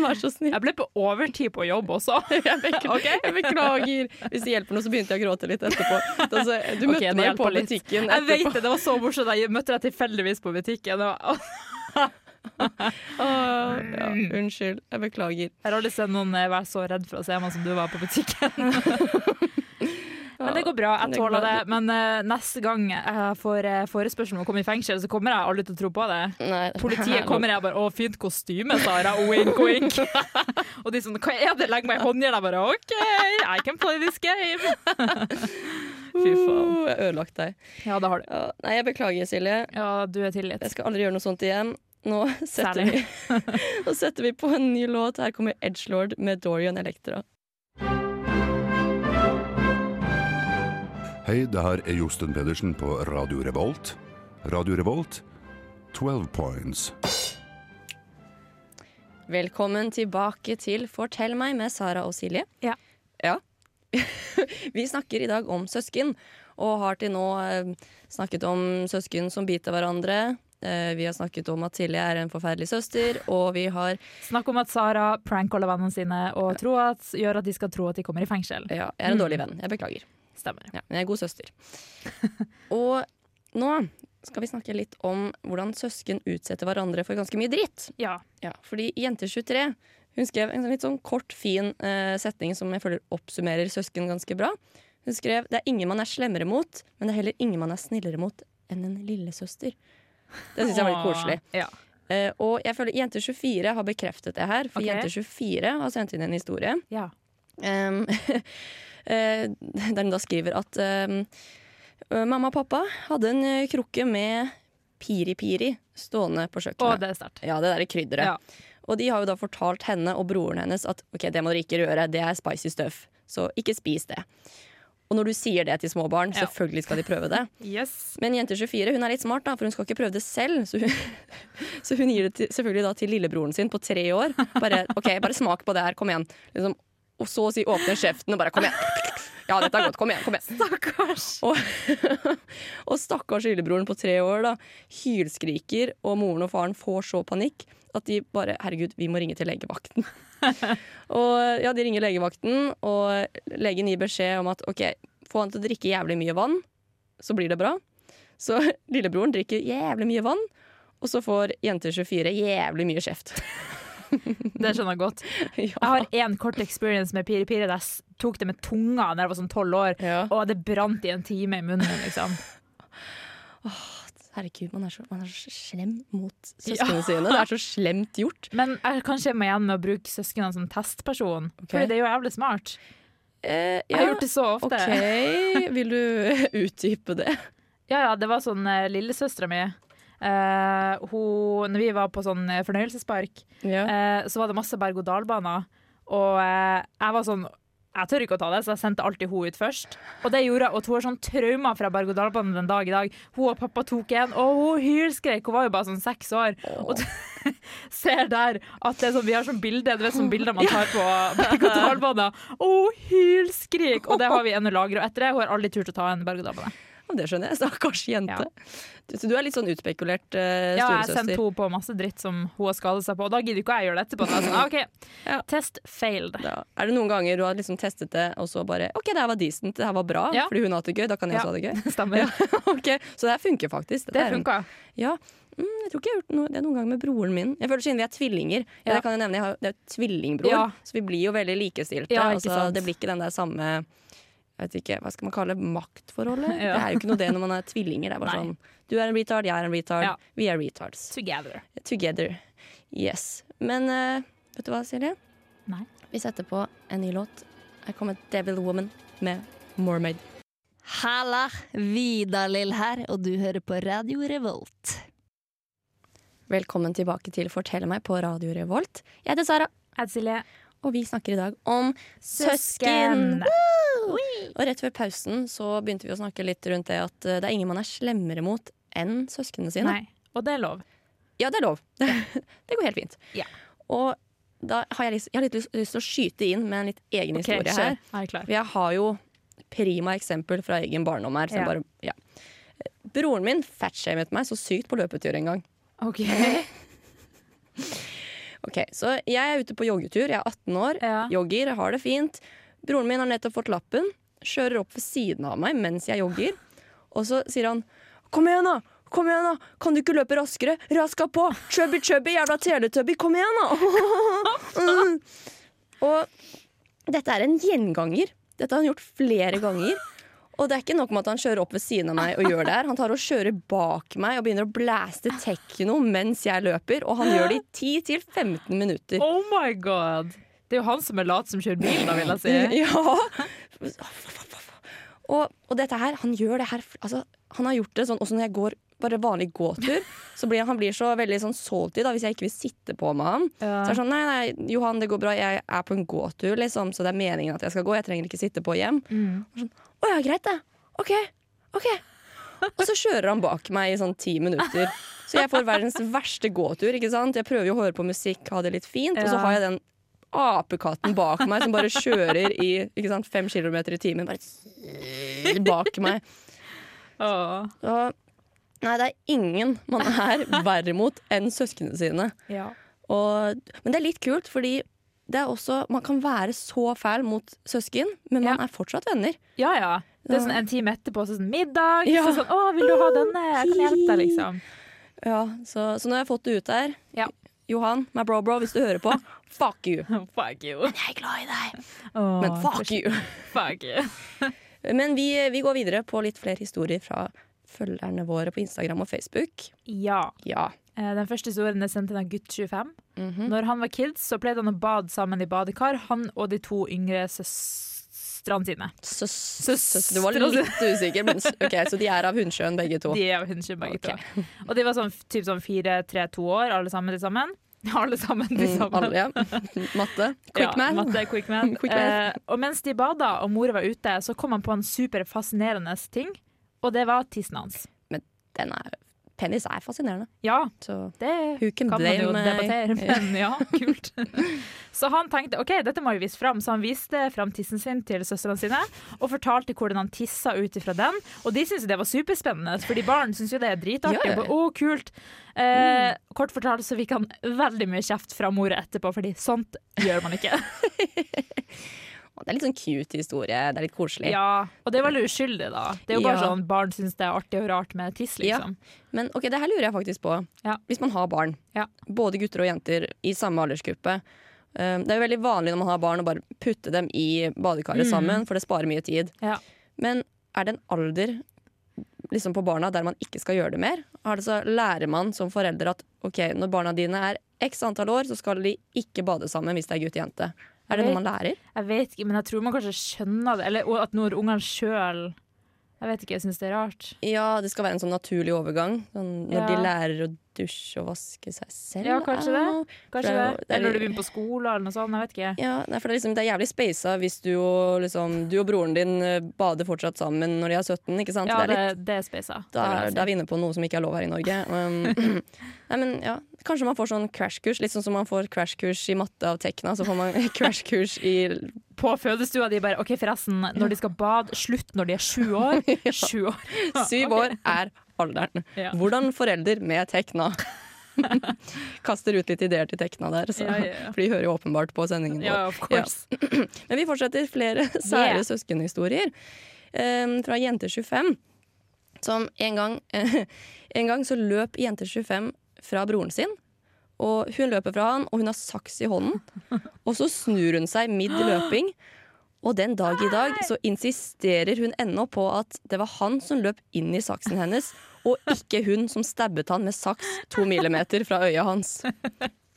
[SPEAKER 1] Vær så snill.
[SPEAKER 2] Jeg ble på overtid på jobb også.
[SPEAKER 1] Jeg beklager. jeg beklager. Hvis det hjelper noe, så begynte jeg å gråte litt etterpå. Altså, du
[SPEAKER 2] Ok,
[SPEAKER 1] møtte meg
[SPEAKER 2] det
[SPEAKER 1] jo
[SPEAKER 2] hjelper
[SPEAKER 1] på
[SPEAKER 2] litt.
[SPEAKER 1] butikken
[SPEAKER 2] Jeg vet
[SPEAKER 1] etterpå.
[SPEAKER 2] det, det var så morsomt. Jeg møtte deg tilfeldigvis på butikken. Og
[SPEAKER 1] Åh, ja, unnskyld. Jeg beklager.
[SPEAKER 2] Jeg har aldri sett noen eh, være så redd for å se meg som du var på butikken. Men det går bra, jeg
[SPEAKER 1] Det går
[SPEAKER 2] tåler det.
[SPEAKER 1] bra.
[SPEAKER 2] Men eh, neste gang jeg får eh, forespørsel om å komme i fengsel, så kommer jeg aldri til å tro på det.
[SPEAKER 1] Nei, det er
[SPEAKER 2] Politiet
[SPEAKER 1] lov.
[SPEAKER 2] kommer og jeg bare 'Å, fint kostyme, Sara'. Wink, wink. og de sånn 'Hva er det? Legg meg i håndjern'. Jeg bare 'OK, I can play this game'.
[SPEAKER 1] Uh,
[SPEAKER 2] Fy faen.
[SPEAKER 1] jeg har ødelagt deg.
[SPEAKER 2] Ja, det har du.
[SPEAKER 1] Ja, nei, jeg beklager, Silje.
[SPEAKER 2] Ja, du er tilgitt.
[SPEAKER 1] Jeg skal aldri gjøre noe sånt igjen. Nå setter, vi,
[SPEAKER 2] Særlig.
[SPEAKER 1] nå setter vi på en ny låt. Her kommer Edgelord med Dorian Electra.
[SPEAKER 7] Hei, det her er Josten Pedersen på Radio Revolt. Radio Revolt, 12 points.
[SPEAKER 1] Velkommen tilbake til Fortell meg med Sara og Silje.
[SPEAKER 2] Ja.
[SPEAKER 1] Ja. vi snakker i dag om søsken, og har til nå eh, snakket om søsken som biter hverandre. Eh, Vi har snakket om at Silje er en forferdelig søster, og vi har
[SPEAKER 2] Snakk om at Sara prank-caller vennene sine og tro at, gjør at de skal tro at de kommer i fengsel.
[SPEAKER 1] Ja, jeg er en
[SPEAKER 2] Mm.
[SPEAKER 1] dårlig venn. Jeg beklager.
[SPEAKER 2] Stemmer.
[SPEAKER 1] Ja, men jeg er god søster. Og nå skal vi snakke litt om hvordan søsken utsetter hverandre for ganske mye dritt.
[SPEAKER 2] Ja.
[SPEAKER 1] Ja, fordi Jente23 hun skrev en sånn litt sånn kort, fin eh, setning som jeg føler oppsummerer søsken ganske bra. Hun skrev det er ingen man er slemmere mot, men det er heller ingen man er snillere mot enn en lillesøster. Det syns jeg var litt koselig.
[SPEAKER 2] Ja.
[SPEAKER 1] Eh, og jeg føler Jente24 har bekreftet det her, for
[SPEAKER 2] Ok.
[SPEAKER 1] Jente24 har sendt inn en historie.
[SPEAKER 2] ja.
[SPEAKER 1] Um, eh, der hun da skriver at um, eh, mamma og pappa hadde en eh, krukke med piri-piri stående på
[SPEAKER 2] Og
[SPEAKER 1] kjøkkenet.
[SPEAKER 2] det er sterkt.
[SPEAKER 1] Ja, det der krydderet.
[SPEAKER 2] Ja.
[SPEAKER 1] Og de har jo da fortalt henne og broren hennes at ok, det må dere ikke røre, det er spicy stuff, så ikke spis det. Og når du sier det til små barn,
[SPEAKER 2] Ja.
[SPEAKER 1] selvfølgelig skal de prøve det.
[SPEAKER 2] Yes.
[SPEAKER 1] Men jente 24 hun er litt smart, da, for hun skal ikke prøve det selv. Så hun, så hun gir det til, selvfølgelig da til lillebroren sin på tre år. Bare, ok, bare smak på det her, kom igjen. Liksom, og så å si åpner kjeften og bare kom igjen. Ja, dette er godt. Kom igjen. kom igjen
[SPEAKER 2] Stakkars.
[SPEAKER 1] Og, og stakkars lillebroren på tre år da hylskriker, og moren og faren får så panikk at de bare Herregud, vi må ringe til legevakten. og ja, de ringer legevakten, og legen gir beskjed om at OK, få han til å drikke jævlig mye vann, så blir det bra. Så lillebroren drikker jævlig mye vann, og så får jenter 24 jævlig mye kjeft.
[SPEAKER 2] Det skjønner jeg godt. Jeg
[SPEAKER 1] ja.
[SPEAKER 2] har én kort experience med piri-piri. der Jeg s- tok det med tunga da jeg var sånn tolv år,
[SPEAKER 1] Ja.
[SPEAKER 2] og det brant i en time i munnen. Liksom.
[SPEAKER 1] Herregud, man er, så, man er så slem mot søsknene sine. Det er så slemt gjort.
[SPEAKER 2] Men jeg kan se meg igjen med å bruke søsknene som testperson,
[SPEAKER 1] Ok.
[SPEAKER 2] Fordi det er jo jævlig smart.
[SPEAKER 1] Eh,
[SPEAKER 2] Jeg har gjort det så ofte.
[SPEAKER 1] Ok, vil du utdype det?
[SPEAKER 2] Ja, ja, det var sånn uh, lillesøstera mi. eh, hun, når vi var på sånn eh, fornøyelsespark, eh, så var det masse berg-og-dal-baner. Og eh, jeg var sånn Jeg tør ikke å ta det, så jeg sendte alltid hun ut først. Og det gjorde jeg, og hun har sånn traumer fra berg-og-dal-banen den dag i dag. Hun og pappa tok en, og hun hylskrek. Hun var jo bare sånn seks år. Og du ser der at det er sånn, vi har sånn bilde Du vet sånn bilder man tar på berg-og-dal-banen. Og hun hylskrik! Og det har vi ennå lagra. Og etter det hun har aldri turt å ta en berg-og-dal-bane.
[SPEAKER 1] Ja, det skjønner jeg. Stakkars jente. Du, så du er litt sånn utspekulert eh,
[SPEAKER 2] Ja, jeg sendte
[SPEAKER 1] storesøster.
[SPEAKER 2] henne på masse dritt som hun har skadet seg på, og da gidder ikke jeg gjøre det etterpå. Så jeg er sånn, ah, ok,
[SPEAKER 1] Ja.
[SPEAKER 2] Test failed.
[SPEAKER 1] Ja. Er det noen ganger du har liksom testet det, og så bare OK, det her var decent, det her var bra,
[SPEAKER 2] Ja.
[SPEAKER 1] fordi hun har hatt det gøy, da kan jeg
[SPEAKER 2] Ja.
[SPEAKER 1] også ha det gøy.
[SPEAKER 2] Stemmer.
[SPEAKER 1] Ok, Så det her funker faktisk. Dette
[SPEAKER 2] Det
[SPEAKER 1] er en-
[SPEAKER 2] funka.
[SPEAKER 1] Ja. Mm, jeg tror ikke jeg har gjort noe, det noen gang med broren min. Jeg føler Siden vi er tvillinger, ja.
[SPEAKER 2] Ja.
[SPEAKER 1] det kan jeg nevne, jeg har, det er jo tvillingbror,
[SPEAKER 2] Ja.
[SPEAKER 1] så vi blir jo veldig likestilte.
[SPEAKER 2] Ja, ikke
[SPEAKER 1] altså,
[SPEAKER 2] sant.
[SPEAKER 1] det blir ikke den der samme jeg vet ikke, Hva skal man kalle det, maktforholdet?
[SPEAKER 2] Ja.
[SPEAKER 1] Det er jo ikke noe det når man er tvillinger. Det er bare
[SPEAKER 2] Nei.
[SPEAKER 1] sånn Du er en retard, jeg er en retard.
[SPEAKER 2] Ja.
[SPEAKER 1] Vi er retards.
[SPEAKER 2] Together.
[SPEAKER 1] Together. Yes. Men eh, vet du hva, Silje?
[SPEAKER 2] Nei.
[SPEAKER 1] Vi setter på en ny låt. Her kommer Devil Woman med Mormaid.
[SPEAKER 8] Halla! Vidar-Lill her, og du hører på Radio Revolt.
[SPEAKER 1] Velkommen tilbake til Fortell meg på Radio Revolt. Jeg heter Sara,
[SPEAKER 2] Jeg heter Silje.
[SPEAKER 1] og vi snakker i dag om søsken.
[SPEAKER 2] Søsken.
[SPEAKER 1] Og rett før pausen så begynte vi å snakke litt rundt det at eh, det er ingen man er slemmere mot enn søsknene sine.
[SPEAKER 2] Nei. Og det er lov.
[SPEAKER 1] Ja, det er lov. det går helt fint.
[SPEAKER 2] Ja.
[SPEAKER 1] Og da har jeg, lyst, jeg har litt lyst, lyst til å skyte inn med en litt egen
[SPEAKER 2] Ok,
[SPEAKER 1] historie
[SPEAKER 2] kjør.
[SPEAKER 1] her.
[SPEAKER 2] Jeg er klar.
[SPEAKER 1] For jeg har jo prima eksempel fra egen barndom her. Så jeg
[SPEAKER 2] Ja.
[SPEAKER 1] bare, ja. Broren min fatshamet meg så sykt på løpetur en gang.
[SPEAKER 2] OK.
[SPEAKER 1] Ok, Så jeg er ute på joggetur, jeg er 18 år,
[SPEAKER 2] Ja.
[SPEAKER 1] jogger, har det fint. Broren min har nettopp fått lappen, kjører opp ved siden av meg mens jeg jogger. Og så sier han 'kom igjen, da! Kom igjen, da! Kan du ikke løpe raskere? Raska på! Chubby, chubby, jævla teletubby! Kom igjen, da! Mm. Og dette er en gjenganger. Dette har han gjort flere ganger. Og det er ikke nok med at han kjører opp ved siden av meg og gjør det her. Han tar og kjører bak meg og begynner å blæste tekno mens jeg løper, og han gjør det i 10-15 minutter.
[SPEAKER 2] Oh my god! Det er jo han som er lat som kjører bil, da, vil jeg si.
[SPEAKER 1] Ja. Og, og dette her, han gjør det her altså, Han har gjort det sånn også når jeg går bare vanlig gåtur. Så blir, han blir så veldig sånn salty da, hvis jeg ikke vil sitte på med han. Så er det sånn, nei, nei, Johan, det går bra, jeg er på en gåtur, liksom, så det er meningen at jeg skal gå. Jeg trenger ikke sitte på hjem.
[SPEAKER 2] Mm.
[SPEAKER 1] Og Sånn, å ja, greit det. OK. OK. Og så kjører han bak meg i sånn ti minutter. Så jeg får verdens verste gåtur. ikke sant? Jeg prøver jo å høre på musikk, ha det litt fint, og så
[SPEAKER 2] Ja.
[SPEAKER 1] har jeg den apekatten bak meg som bare kjører i ikke sant, fem kilometer i timen. Bare bak meg.
[SPEAKER 2] Åh.
[SPEAKER 1] Og, nei, det er ingen man er verre mot enn søsknene sine.
[SPEAKER 2] Ja.
[SPEAKER 1] Og, men det er litt kult, fordi det er også, man kan være så fæl mot søsken, men man
[SPEAKER 2] Ja.
[SPEAKER 1] er fortsatt venner.
[SPEAKER 2] ja, ja. Det er sånn en time etterpå, så er det sånn middag.
[SPEAKER 1] Ja.
[SPEAKER 2] Så sånn, å, vil du ha denne? Jeg kan hjelpe deg, liksom.
[SPEAKER 1] Ja, så, så nå har jeg fått det ut der.
[SPEAKER 2] Ja.
[SPEAKER 1] Johan, my bro-bro, hvis du hører på, fuck you.
[SPEAKER 2] Fuck you.
[SPEAKER 1] Jeg er glad i deg,
[SPEAKER 2] Åh,
[SPEAKER 1] men fuck you.
[SPEAKER 2] fuck you.
[SPEAKER 1] Men vi, vi går videre på litt flere historier fra følgerne våre på Instagram og Facebook.
[SPEAKER 2] Ja.
[SPEAKER 1] Ja.
[SPEAKER 2] Eh, Den første historien er sendt inn av gutt 25.
[SPEAKER 1] Mhm.
[SPEAKER 2] Når han var kids, så pleide han å bade sammen i badekar, han og de to yngre søstrene sine.
[SPEAKER 1] Søs,
[SPEAKER 2] Søs-
[SPEAKER 1] du var litt usikker, men s- ok, så de er av Hundsjøen begge to.
[SPEAKER 2] De er jo hundskjønn begge
[SPEAKER 1] Ok.
[SPEAKER 2] to. Og de var sånn, typ sånn fire, tre, to år, alle sammen til sammen. Alle sammen til
[SPEAKER 1] Mm,
[SPEAKER 2] sammen.
[SPEAKER 1] alle, ja. Matte. Quick
[SPEAKER 2] ja,
[SPEAKER 1] man.
[SPEAKER 2] Matte, quick man.
[SPEAKER 1] Quick math.
[SPEAKER 2] Eh, og mens de bada og mora var ute, så kom han på en superfascinerende ting, og det var tissen hans.
[SPEAKER 1] Den er, penis er fascinerende.
[SPEAKER 2] Ja,
[SPEAKER 1] Så
[SPEAKER 2] det
[SPEAKER 1] who can
[SPEAKER 2] kan man
[SPEAKER 1] blame
[SPEAKER 2] jo
[SPEAKER 1] eh,
[SPEAKER 2] debattere, men ja, kult. Så han tenkte ok, dette må vi vise fram, så han viste fram tissen sin til søstrene sine. Og fortalte hvordan han tissa ut ifra den. Og de syntes det var superspennende, fordi barn syns jo det er dritartig.
[SPEAKER 1] Ja, ja.
[SPEAKER 2] Bare, Å, kult. Eh, kort fortalt så fikk han veldig mye kjeft fra mora etterpå, fordi sånt gjør man ikke.
[SPEAKER 1] Det er litt sånn cute historie. Det er litt koselig.
[SPEAKER 2] Ja, Og det er veldig uskyldig, da. Det er jo bare
[SPEAKER 1] Ja.
[SPEAKER 2] sånn barn syns det er artig og rart med tiss, liksom.
[SPEAKER 1] Men ok, det her lurer jeg faktisk på.
[SPEAKER 2] Ja.
[SPEAKER 1] Hvis man har barn,
[SPEAKER 2] Ja.
[SPEAKER 1] både gutter og jenter i samme aldersgruppe um, Det er jo veldig vanlig når man har barn å bare putte dem i badekaret
[SPEAKER 2] Mm.
[SPEAKER 1] sammen, for det sparer mye tid.
[SPEAKER 2] Ja.
[SPEAKER 1] Men er det en alder liksom på barna der man ikke skal gjøre det mer? Er det så lærer man som forelder at ok, når barna dine er x antall år, så skal de ikke bade sammen hvis det er gutt og jente? Er det noe man lærer?
[SPEAKER 2] Jeg vet ikke, men jeg tror man kanskje skjønner det. Eller og at når ungene sjøl Jeg vet ikke, jeg syns det er rart.
[SPEAKER 1] Ja, det skal være en sånn naturlig overgang. Sånn, når
[SPEAKER 2] Ja.
[SPEAKER 1] de lærer å dusje og vaske seg selv.
[SPEAKER 2] Ja, kanskje
[SPEAKER 1] I don't
[SPEAKER 2] det.
[SPEAKER 1] know.
[SPEAKER 2] Kanskje
[SPEAKER 1] For det er
[SPEAKER 2] det.
[SPEAKER 1] jo- det er
[SPEAKER 2] Eller når du
[SPEAKER 1] litt-
[SPEAKER 2] begynner på skolen eller noe sånt. Jeg vet ikke.
[SPEAKER 1] Ja, nei, for det er, liksom, det er jævlig spasa hvis du og, liksom, du og broren din eh, bader fortsatt sammen når de er 17. ikke sant?
[SPEAKER 2] Ja,
[SPEAKER 1] det
[SPEAKER 2] det,
[SPEAKER 1] er litt,
[SPEAKER 2] det er speisa. det
[SPEAKER 1] da,
[SPEAKER 2] vil jeg
[SPEAKER 1] er,
[SPEAKER 2] si.
[SPEAKER 1] da er vi inne på noe som ikke er lov her i Norge. Um, nei, men, ja. Kanskje man får sånn crashkurs, litt sånn som man får crashkurs i matte av Tekna. Så får man crashkurs i
[SPEAKER 2] På fødestua de bare OK, forresten, når de skal bade, slutt når de er sju år. Sju år.
[SPEAKER 1] syv år er alderen.
[SPEAKER 2] Ja.
[SPEAKER 1] Hvordan forelder med Tekna. Kaster ut litt ideer til Tekna der, så,
[SPEAKER 2] Ja, ja, ja.
[SPEAKER 1] for de hører jo åpenbart på sendingen vår.
[SPEAKER 2] Ja, of course.
[SPEAKER 1] Men vi fortsetter flere sære søskenhistorier. Ehm, fra Jenter25, som en gang, en gang så løp Jenter25 fra broren sin. Og hun løper fra han, og hun har saks i hånden. Og så snur hun seg midt i løping. Og den dag i dag så insisterer hun ennå på at det var han som løp inn i saksen hennes, og ikke hun som stabbet han med saks to millimeter fra øyet hans.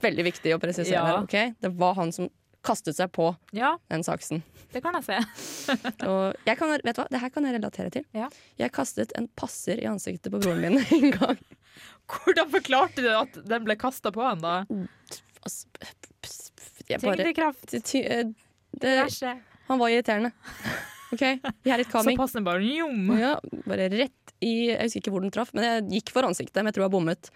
[SPEAKER 1] Veldig viktig å presisere.
[SPEAKER 2] Ja.
[SPEAKER 1] her, ok? Det var han som kastet seg på
[SPEAKER 2] Ja,
[SPEAKER 1] den saksen.
[SPEAKER 2] det kan jeg se.
[SPEAKER 1] Og jeg kan, vet du hva? Det her kan jeg relatere til.
[SPEAKER 2] Ja.
[SPEAKER 1] Jeg kastet en passer i ansiktet på broren min en gang.
[SPEAKER 2] Hvordan forklarte du at den ble kasta på han, da?
[SPEAKER 1] Altså, p- p- p- jeg bare
[SPEAKER 2] Tyngdekraft,
[SPEAKER 1] ty, ty, eh, det,
[SPEAKER 2] bæsje.
[SPEAKER 1] Han var irriterende. OK, jeg er litt
[SPEAKER 2] Så
[SPEAKER 1] coming.
[SPEAKER 2] passer den bare njom.
[SPEAKER 1] Ja, bare rett i Jeg husker ikke hvor den traff, men jeg gikk for ansiktet. Men jeg tror jeg bommet.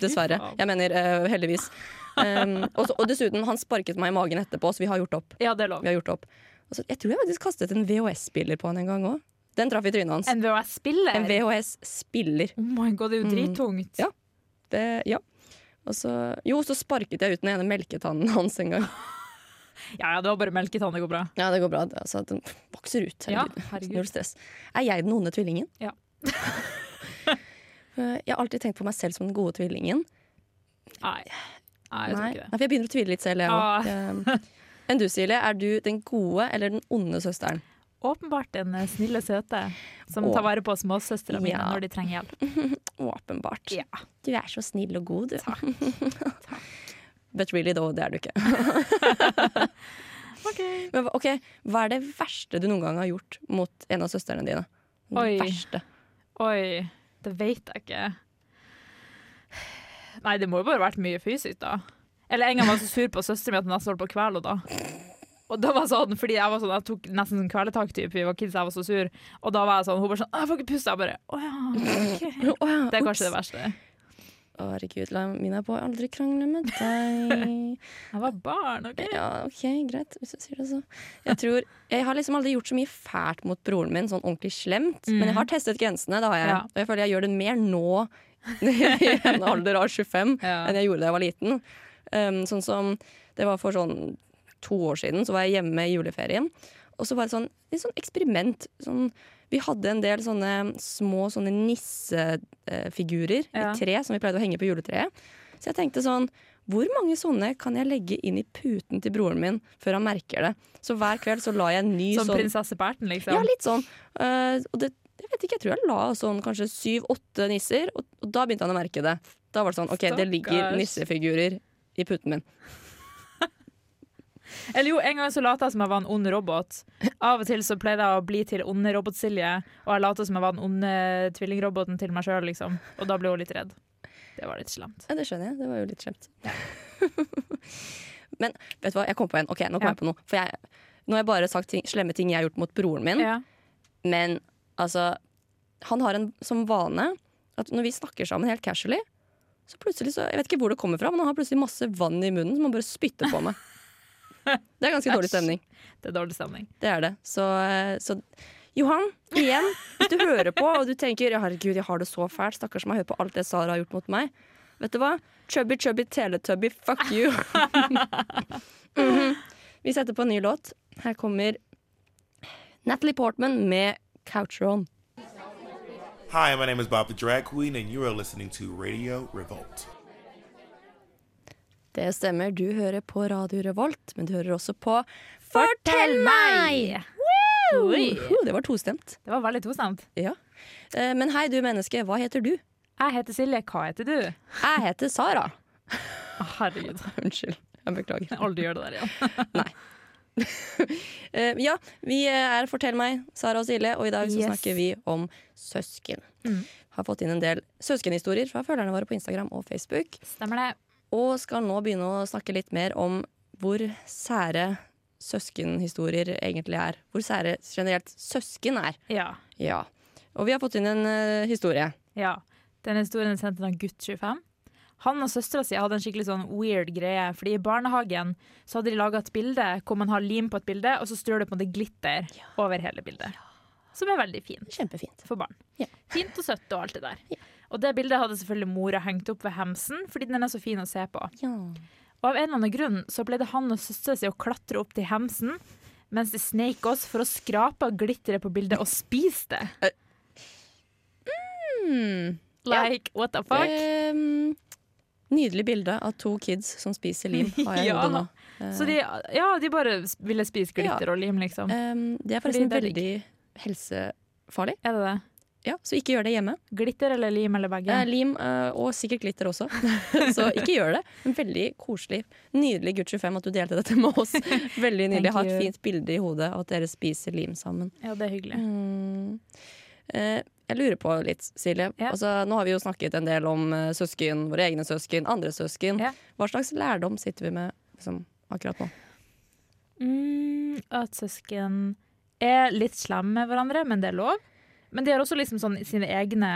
[SPEAKER 1] Dessverre.
[SPEAKER 2] Ah, faen.
[SPEAKER 1] Jeg mener eh, heldigvis. Um, og, så- og dessuten, han sparket meg i magen etterpå, så vi har gjort opp.
[SPEAKER 2] Ja, det er lov.
[SPEAKER 1] Vi har gjort opp. Og så- jeg tror jeg faktisk kastet en VHS-spiller på han en gang òg. Den traff i trynet hans.
[SPEAKER 2] En
[SPEAKER 1] En
[SPEAKER 2] VHS-spiller?
[SPEAKER 1] VHS-spiller.
[SPEAKER 2] Oh my god, det er jo
[SPEAKER 1] Mm.
[SPEAKER 2] drittungt.
[SPEAKER 1] Ja. Det, ja. Og så, jo, så sparket jeg ut den ene melketannen hans en gang.
[SPEAKER 2] Ja, ja, det var bare melketann, det går bra.
[SPEAKER 1] Ja, det går bra. Altså, at den vokser ut.
[SPEAKER 2] Ja,
[SPEAKER 1] Herregud.
[SPEAKER 2] herregud.
[SPEAKER 1] Null stress. Er jeg den onde tvillingen?
[SPEAKER 2] Ja.
[SPEAKER 1] Eh, Jeg har alltid tenkt på meg selv som den gode tvillingen.
[SPEAKER 2] Nei. Nei, jeg tror
[SPEAKER 1] Nei.
[SPEAKER 2] ikke det.
[SPEAKER 1] Nei, for jeg begynner å tvile litt selv. Jeg,
[SPEAKER 2] Ah.
[SPEAKER 1] også. Eh, Enn du, Silje, er du den gode eller den onde søsteren?
[SPEAKER 2] Åpenbart den eh, snille, søte som
[SPEAKER 1] Å.
[SPEAKER 2] tar vare på småsøstrene mine
[SPEAKER 1] Ja.
[SPEAKER 2] når de trenger hjelp.
[SPEAKER 1] Åpenbart.
[SPEAKER 2] Ja.
[SPEAKER 1] Du er så snill og god, du. But really, though, det er du ikke. Men hva- ok, Hva er det verste du noen gang har gjort mot en av søstrene dine? Det
[SPEAKER 2] Oi.
[SPEAKER 1] verste.
[SPEAKER 2] Oi, det vet jeg ikke. Nei, det må jo bare ha vært mye fysisk, da. Eller en gang var jeg så sur på søsteren min at jeg nesten holdt på å kvele henne. da. Og da var jeg sånn, fordi jeg var sånn, jeg tok nesten sånn kveletak typ, vi var kids, jeg var så sur. Og da var jeg sånn, hun bare sånn, «Å, jeg får ikke puste, jeg bare, åja, ok.
[SPEAKER 1] Å, ja,
[SPEAKER 2] Det er
[SPEAKER 1] ups.
[SPEAKER 2] kanskje det verste.
[SPEAKER 1] Å, Herregud, la mine på. Aldri krangle med deg.
[SPEAKER 2] Jeg var barn, ok.
[SPEAKER 1] Ja, OK, greit, hvis du sier det, så. Jeg tror Jeg har liksom aldri gjort så mye fælt mot broren min, sånn ordentlig slemt. Men jeg har testet grensene, det har jeg.
[SPEAKER 2] Mm. Ja.
[SPEAKER 1] Og jeg føler jeg gjør det mer nå, i en alder av 25,
[SPEAKER 2] Ja.
[SPEAKER 1] enn jeg gjorde da jeg var liten. Um, sånn som Det var for sånn to år siden, så var jeg hjemme i juleferien. Og så var det sånn, et sånn eksperiment. Sånn, vi hadde en del sånne små sånne nissefigurer
[SPEAKER 2] Ja.
[SPEAKER 1] i tre som vi pleide å henge på juletreet. Så jeg tenkte sånn Hvor mange sånne kan jeg legge inn i puten til broren min før han merker det? Så hver kveld så la jeg en ny
[SPEAKER 2] Som
[SPEAKER 1] sånn
[SPEAKER 2] prinsesse Berten, liksom.
[SPEAKER 1] ja, litt sånn. Eh, og det, jeg vet ikke, jeg tror jeg la sånn kanskje syv-åtte nisser, og, og da begynte han å merke det. Da var det sånn, ok, det ligger
[SPEAKER 2] Stakkars.
[SPEAKER 1] nissefigurer i puten min.
[SPEAKER 2] Eller jo, en gang så lot jeg som jeg var en ond robot. Av og til så pleide jeg å bli til onde robot-Silje, og jeg lot som jeg var den onde tvillingroboten til meg sjøl, liksom. Og da ble hun litt redd. Det var litt slemt.
[SPEAKER 1] Ja, det skjønner jeg. Det var jo litt slemt. Men vet du hva, jeg kom på en. Ok, nå kom
[SPEAKER 2] Ja.
[SPEAKER 1] jeg på noe. For jeg, nå har jeg bare sagt ting, slemme ting jeg har gjort mot broren min,
[SPEAKER 2] Ja.
[SPEAKER 1] men altså Han har en som vane at når vi snakker sammen helt casually, så plutselig så Jeg vet ikke hvor det kommer fra, men han har plutselig masse vann i munnen som han bare spytter på meg. Det er ganske dårlig
[SPEAKER 2] Æsj.
[SPEAKER 1] stemning.
[SPEAKER 2] Det er dårlig stemning.
[SPEAKER 1] Det er det. Så, eh, så Johan, igjen, hvis du hører på og du tenker «Ja, herregud, jeg har det så fælt, stakkars meg, hør på alt det Sara har gjort mot meg. Vet du hva? Chubby, chubby, teletubby, fuck you. Mhm. Vi setter på en ny låt. Her kommer Natalie Portman med Couchron.
[SPEAKER 9] Hi, my name is Bob the Drag Queen, and you are listening to Radio Revolt.
[SPEAKER 1] Det stemmer, du hører på Radio Revolt, men du hører også på Fortell meg!
[SPEAKER 2] Oi.
[SPEAKER 1] Uhu, Det var tostemt.
[SPEAKER 2] Det var veldig tostemt.
[SPEAKER 1] Ja. Eh, Men hei, du menneske, hva heter du?
[SPEAKER 2] Jeg heter Silje, hva heter du?
[SPEAKER 1] Jeg heter Sara.
[SPEAKER 2] Å, Herregud,
[SPEAKER 1] Unnskyld. Jeg beklager.
[SPEAKER 2] jeg aldri gjør det der igjen.
[SPEAKER 1] Eh, ja, vi eh, er Fortell meg, Sara og Silje, og i dag så
[SPEAKER 2] Yes.
[SPEAKER 1] snakker vi om søsken. Har fått inn en del søskenhistorier fra følgerne våre på Instagram og Facebook.
[SPEAKER 2] Stemmer det.
[SPEAKER 1] Og skal nå begynne å snakke litt mer om hvor sære søskenhistorier egentlig er. Hvor sære generelt søsken er.
[SPEAKER 2] Ja.
[SPEAKER 1] Ja. Og vi har fått inn en eh, historie.
[SPEAKER 2] ja. Den historien er sendt til en gutt 25. Han og søstera si hadde en skikkelig sånn weird greie. Fordi I barnehagen så hadde de laga et bilde hvor man har lim på et bilde, og så strør det på en måte glitter over hele bildet. Som er veldig fint.
[SPEAKER 1] Kjempefint.
[SPEAKER 2] for barn.
[SPEAKER 1] Ja.
[SPEAKER 2] Fint og søtt og alt det der. Og det bildet hadde selvfølgelig mora hengt opp ved hemsen, fordi den er så fin å se på.
[SPEAKER 1] Ja.
[SPEAKER 2] Og av en eller annen grunn så pleide han og søstera si å klatre opp til hemsen mens de sneik oss for å skrape av glitteret på bildet og spise det. Like, what the fuck?
[SPEAKER 1] Hmm. Ehm, nydelig bilde av to kids som spiser lim, har jeg i
[SPEAKER 2] Ja.
[SPEAKER 1] hodet nå.
[SPEAKER 2] Så de, ja, de bare s- ville spise glitter
[SPEAKER 1] Ja.
[SPEAKER 2] og lim, liksom.
[SPEAKER 1] Ehm, det er
[SPEAKER 2] Fordi
[SPEAKER 1] forresten
[SPEAKER 2] det er digg.
[SPEAKER 1] veldig helsefarlig.
[SPEAKER 2] Er det det?
[SPEAKER 1] Ja, så ikke gjør det hjemme.
[SPEAKER 2] Glitter eller lim eller begge?
[SPEAKER 1] Eh, lim eh, og sikkert glitter også. så ikke gjør det. Men veldig koselig. Nydelig gutt 25 at du delte dette med oss. Veldig nydelig.
[SPEAKER 2] Thank
[SPEAKER 1] Ha et
[SPEAKER 2] you.
[SPEAKER 1] fint bilde i hodet av at dere spiser lim sammen.
[SPEAKER 2] Ja, det er
[SPEAKER 1] mm.
[SPEAKER 2] hyggelig.
[SPEAKER 1] Eh, jeg lurer på litt, Silje.
[SPEAKER 2] Ja.
[SPEAKER 1] Altså, nå har vi jo snakket en del om eh, søsken, våre egne søsken, andre søsken.
[SPEAKER 2] Ja.
[SPEAKER 1] Hva slags lærdom sitter vi med liksom, akkurat nå?
[SPEAKER 2] Mm, at søsken er litt slemme med hverandre, men det er lov. Men de har også liksom sånn sine egne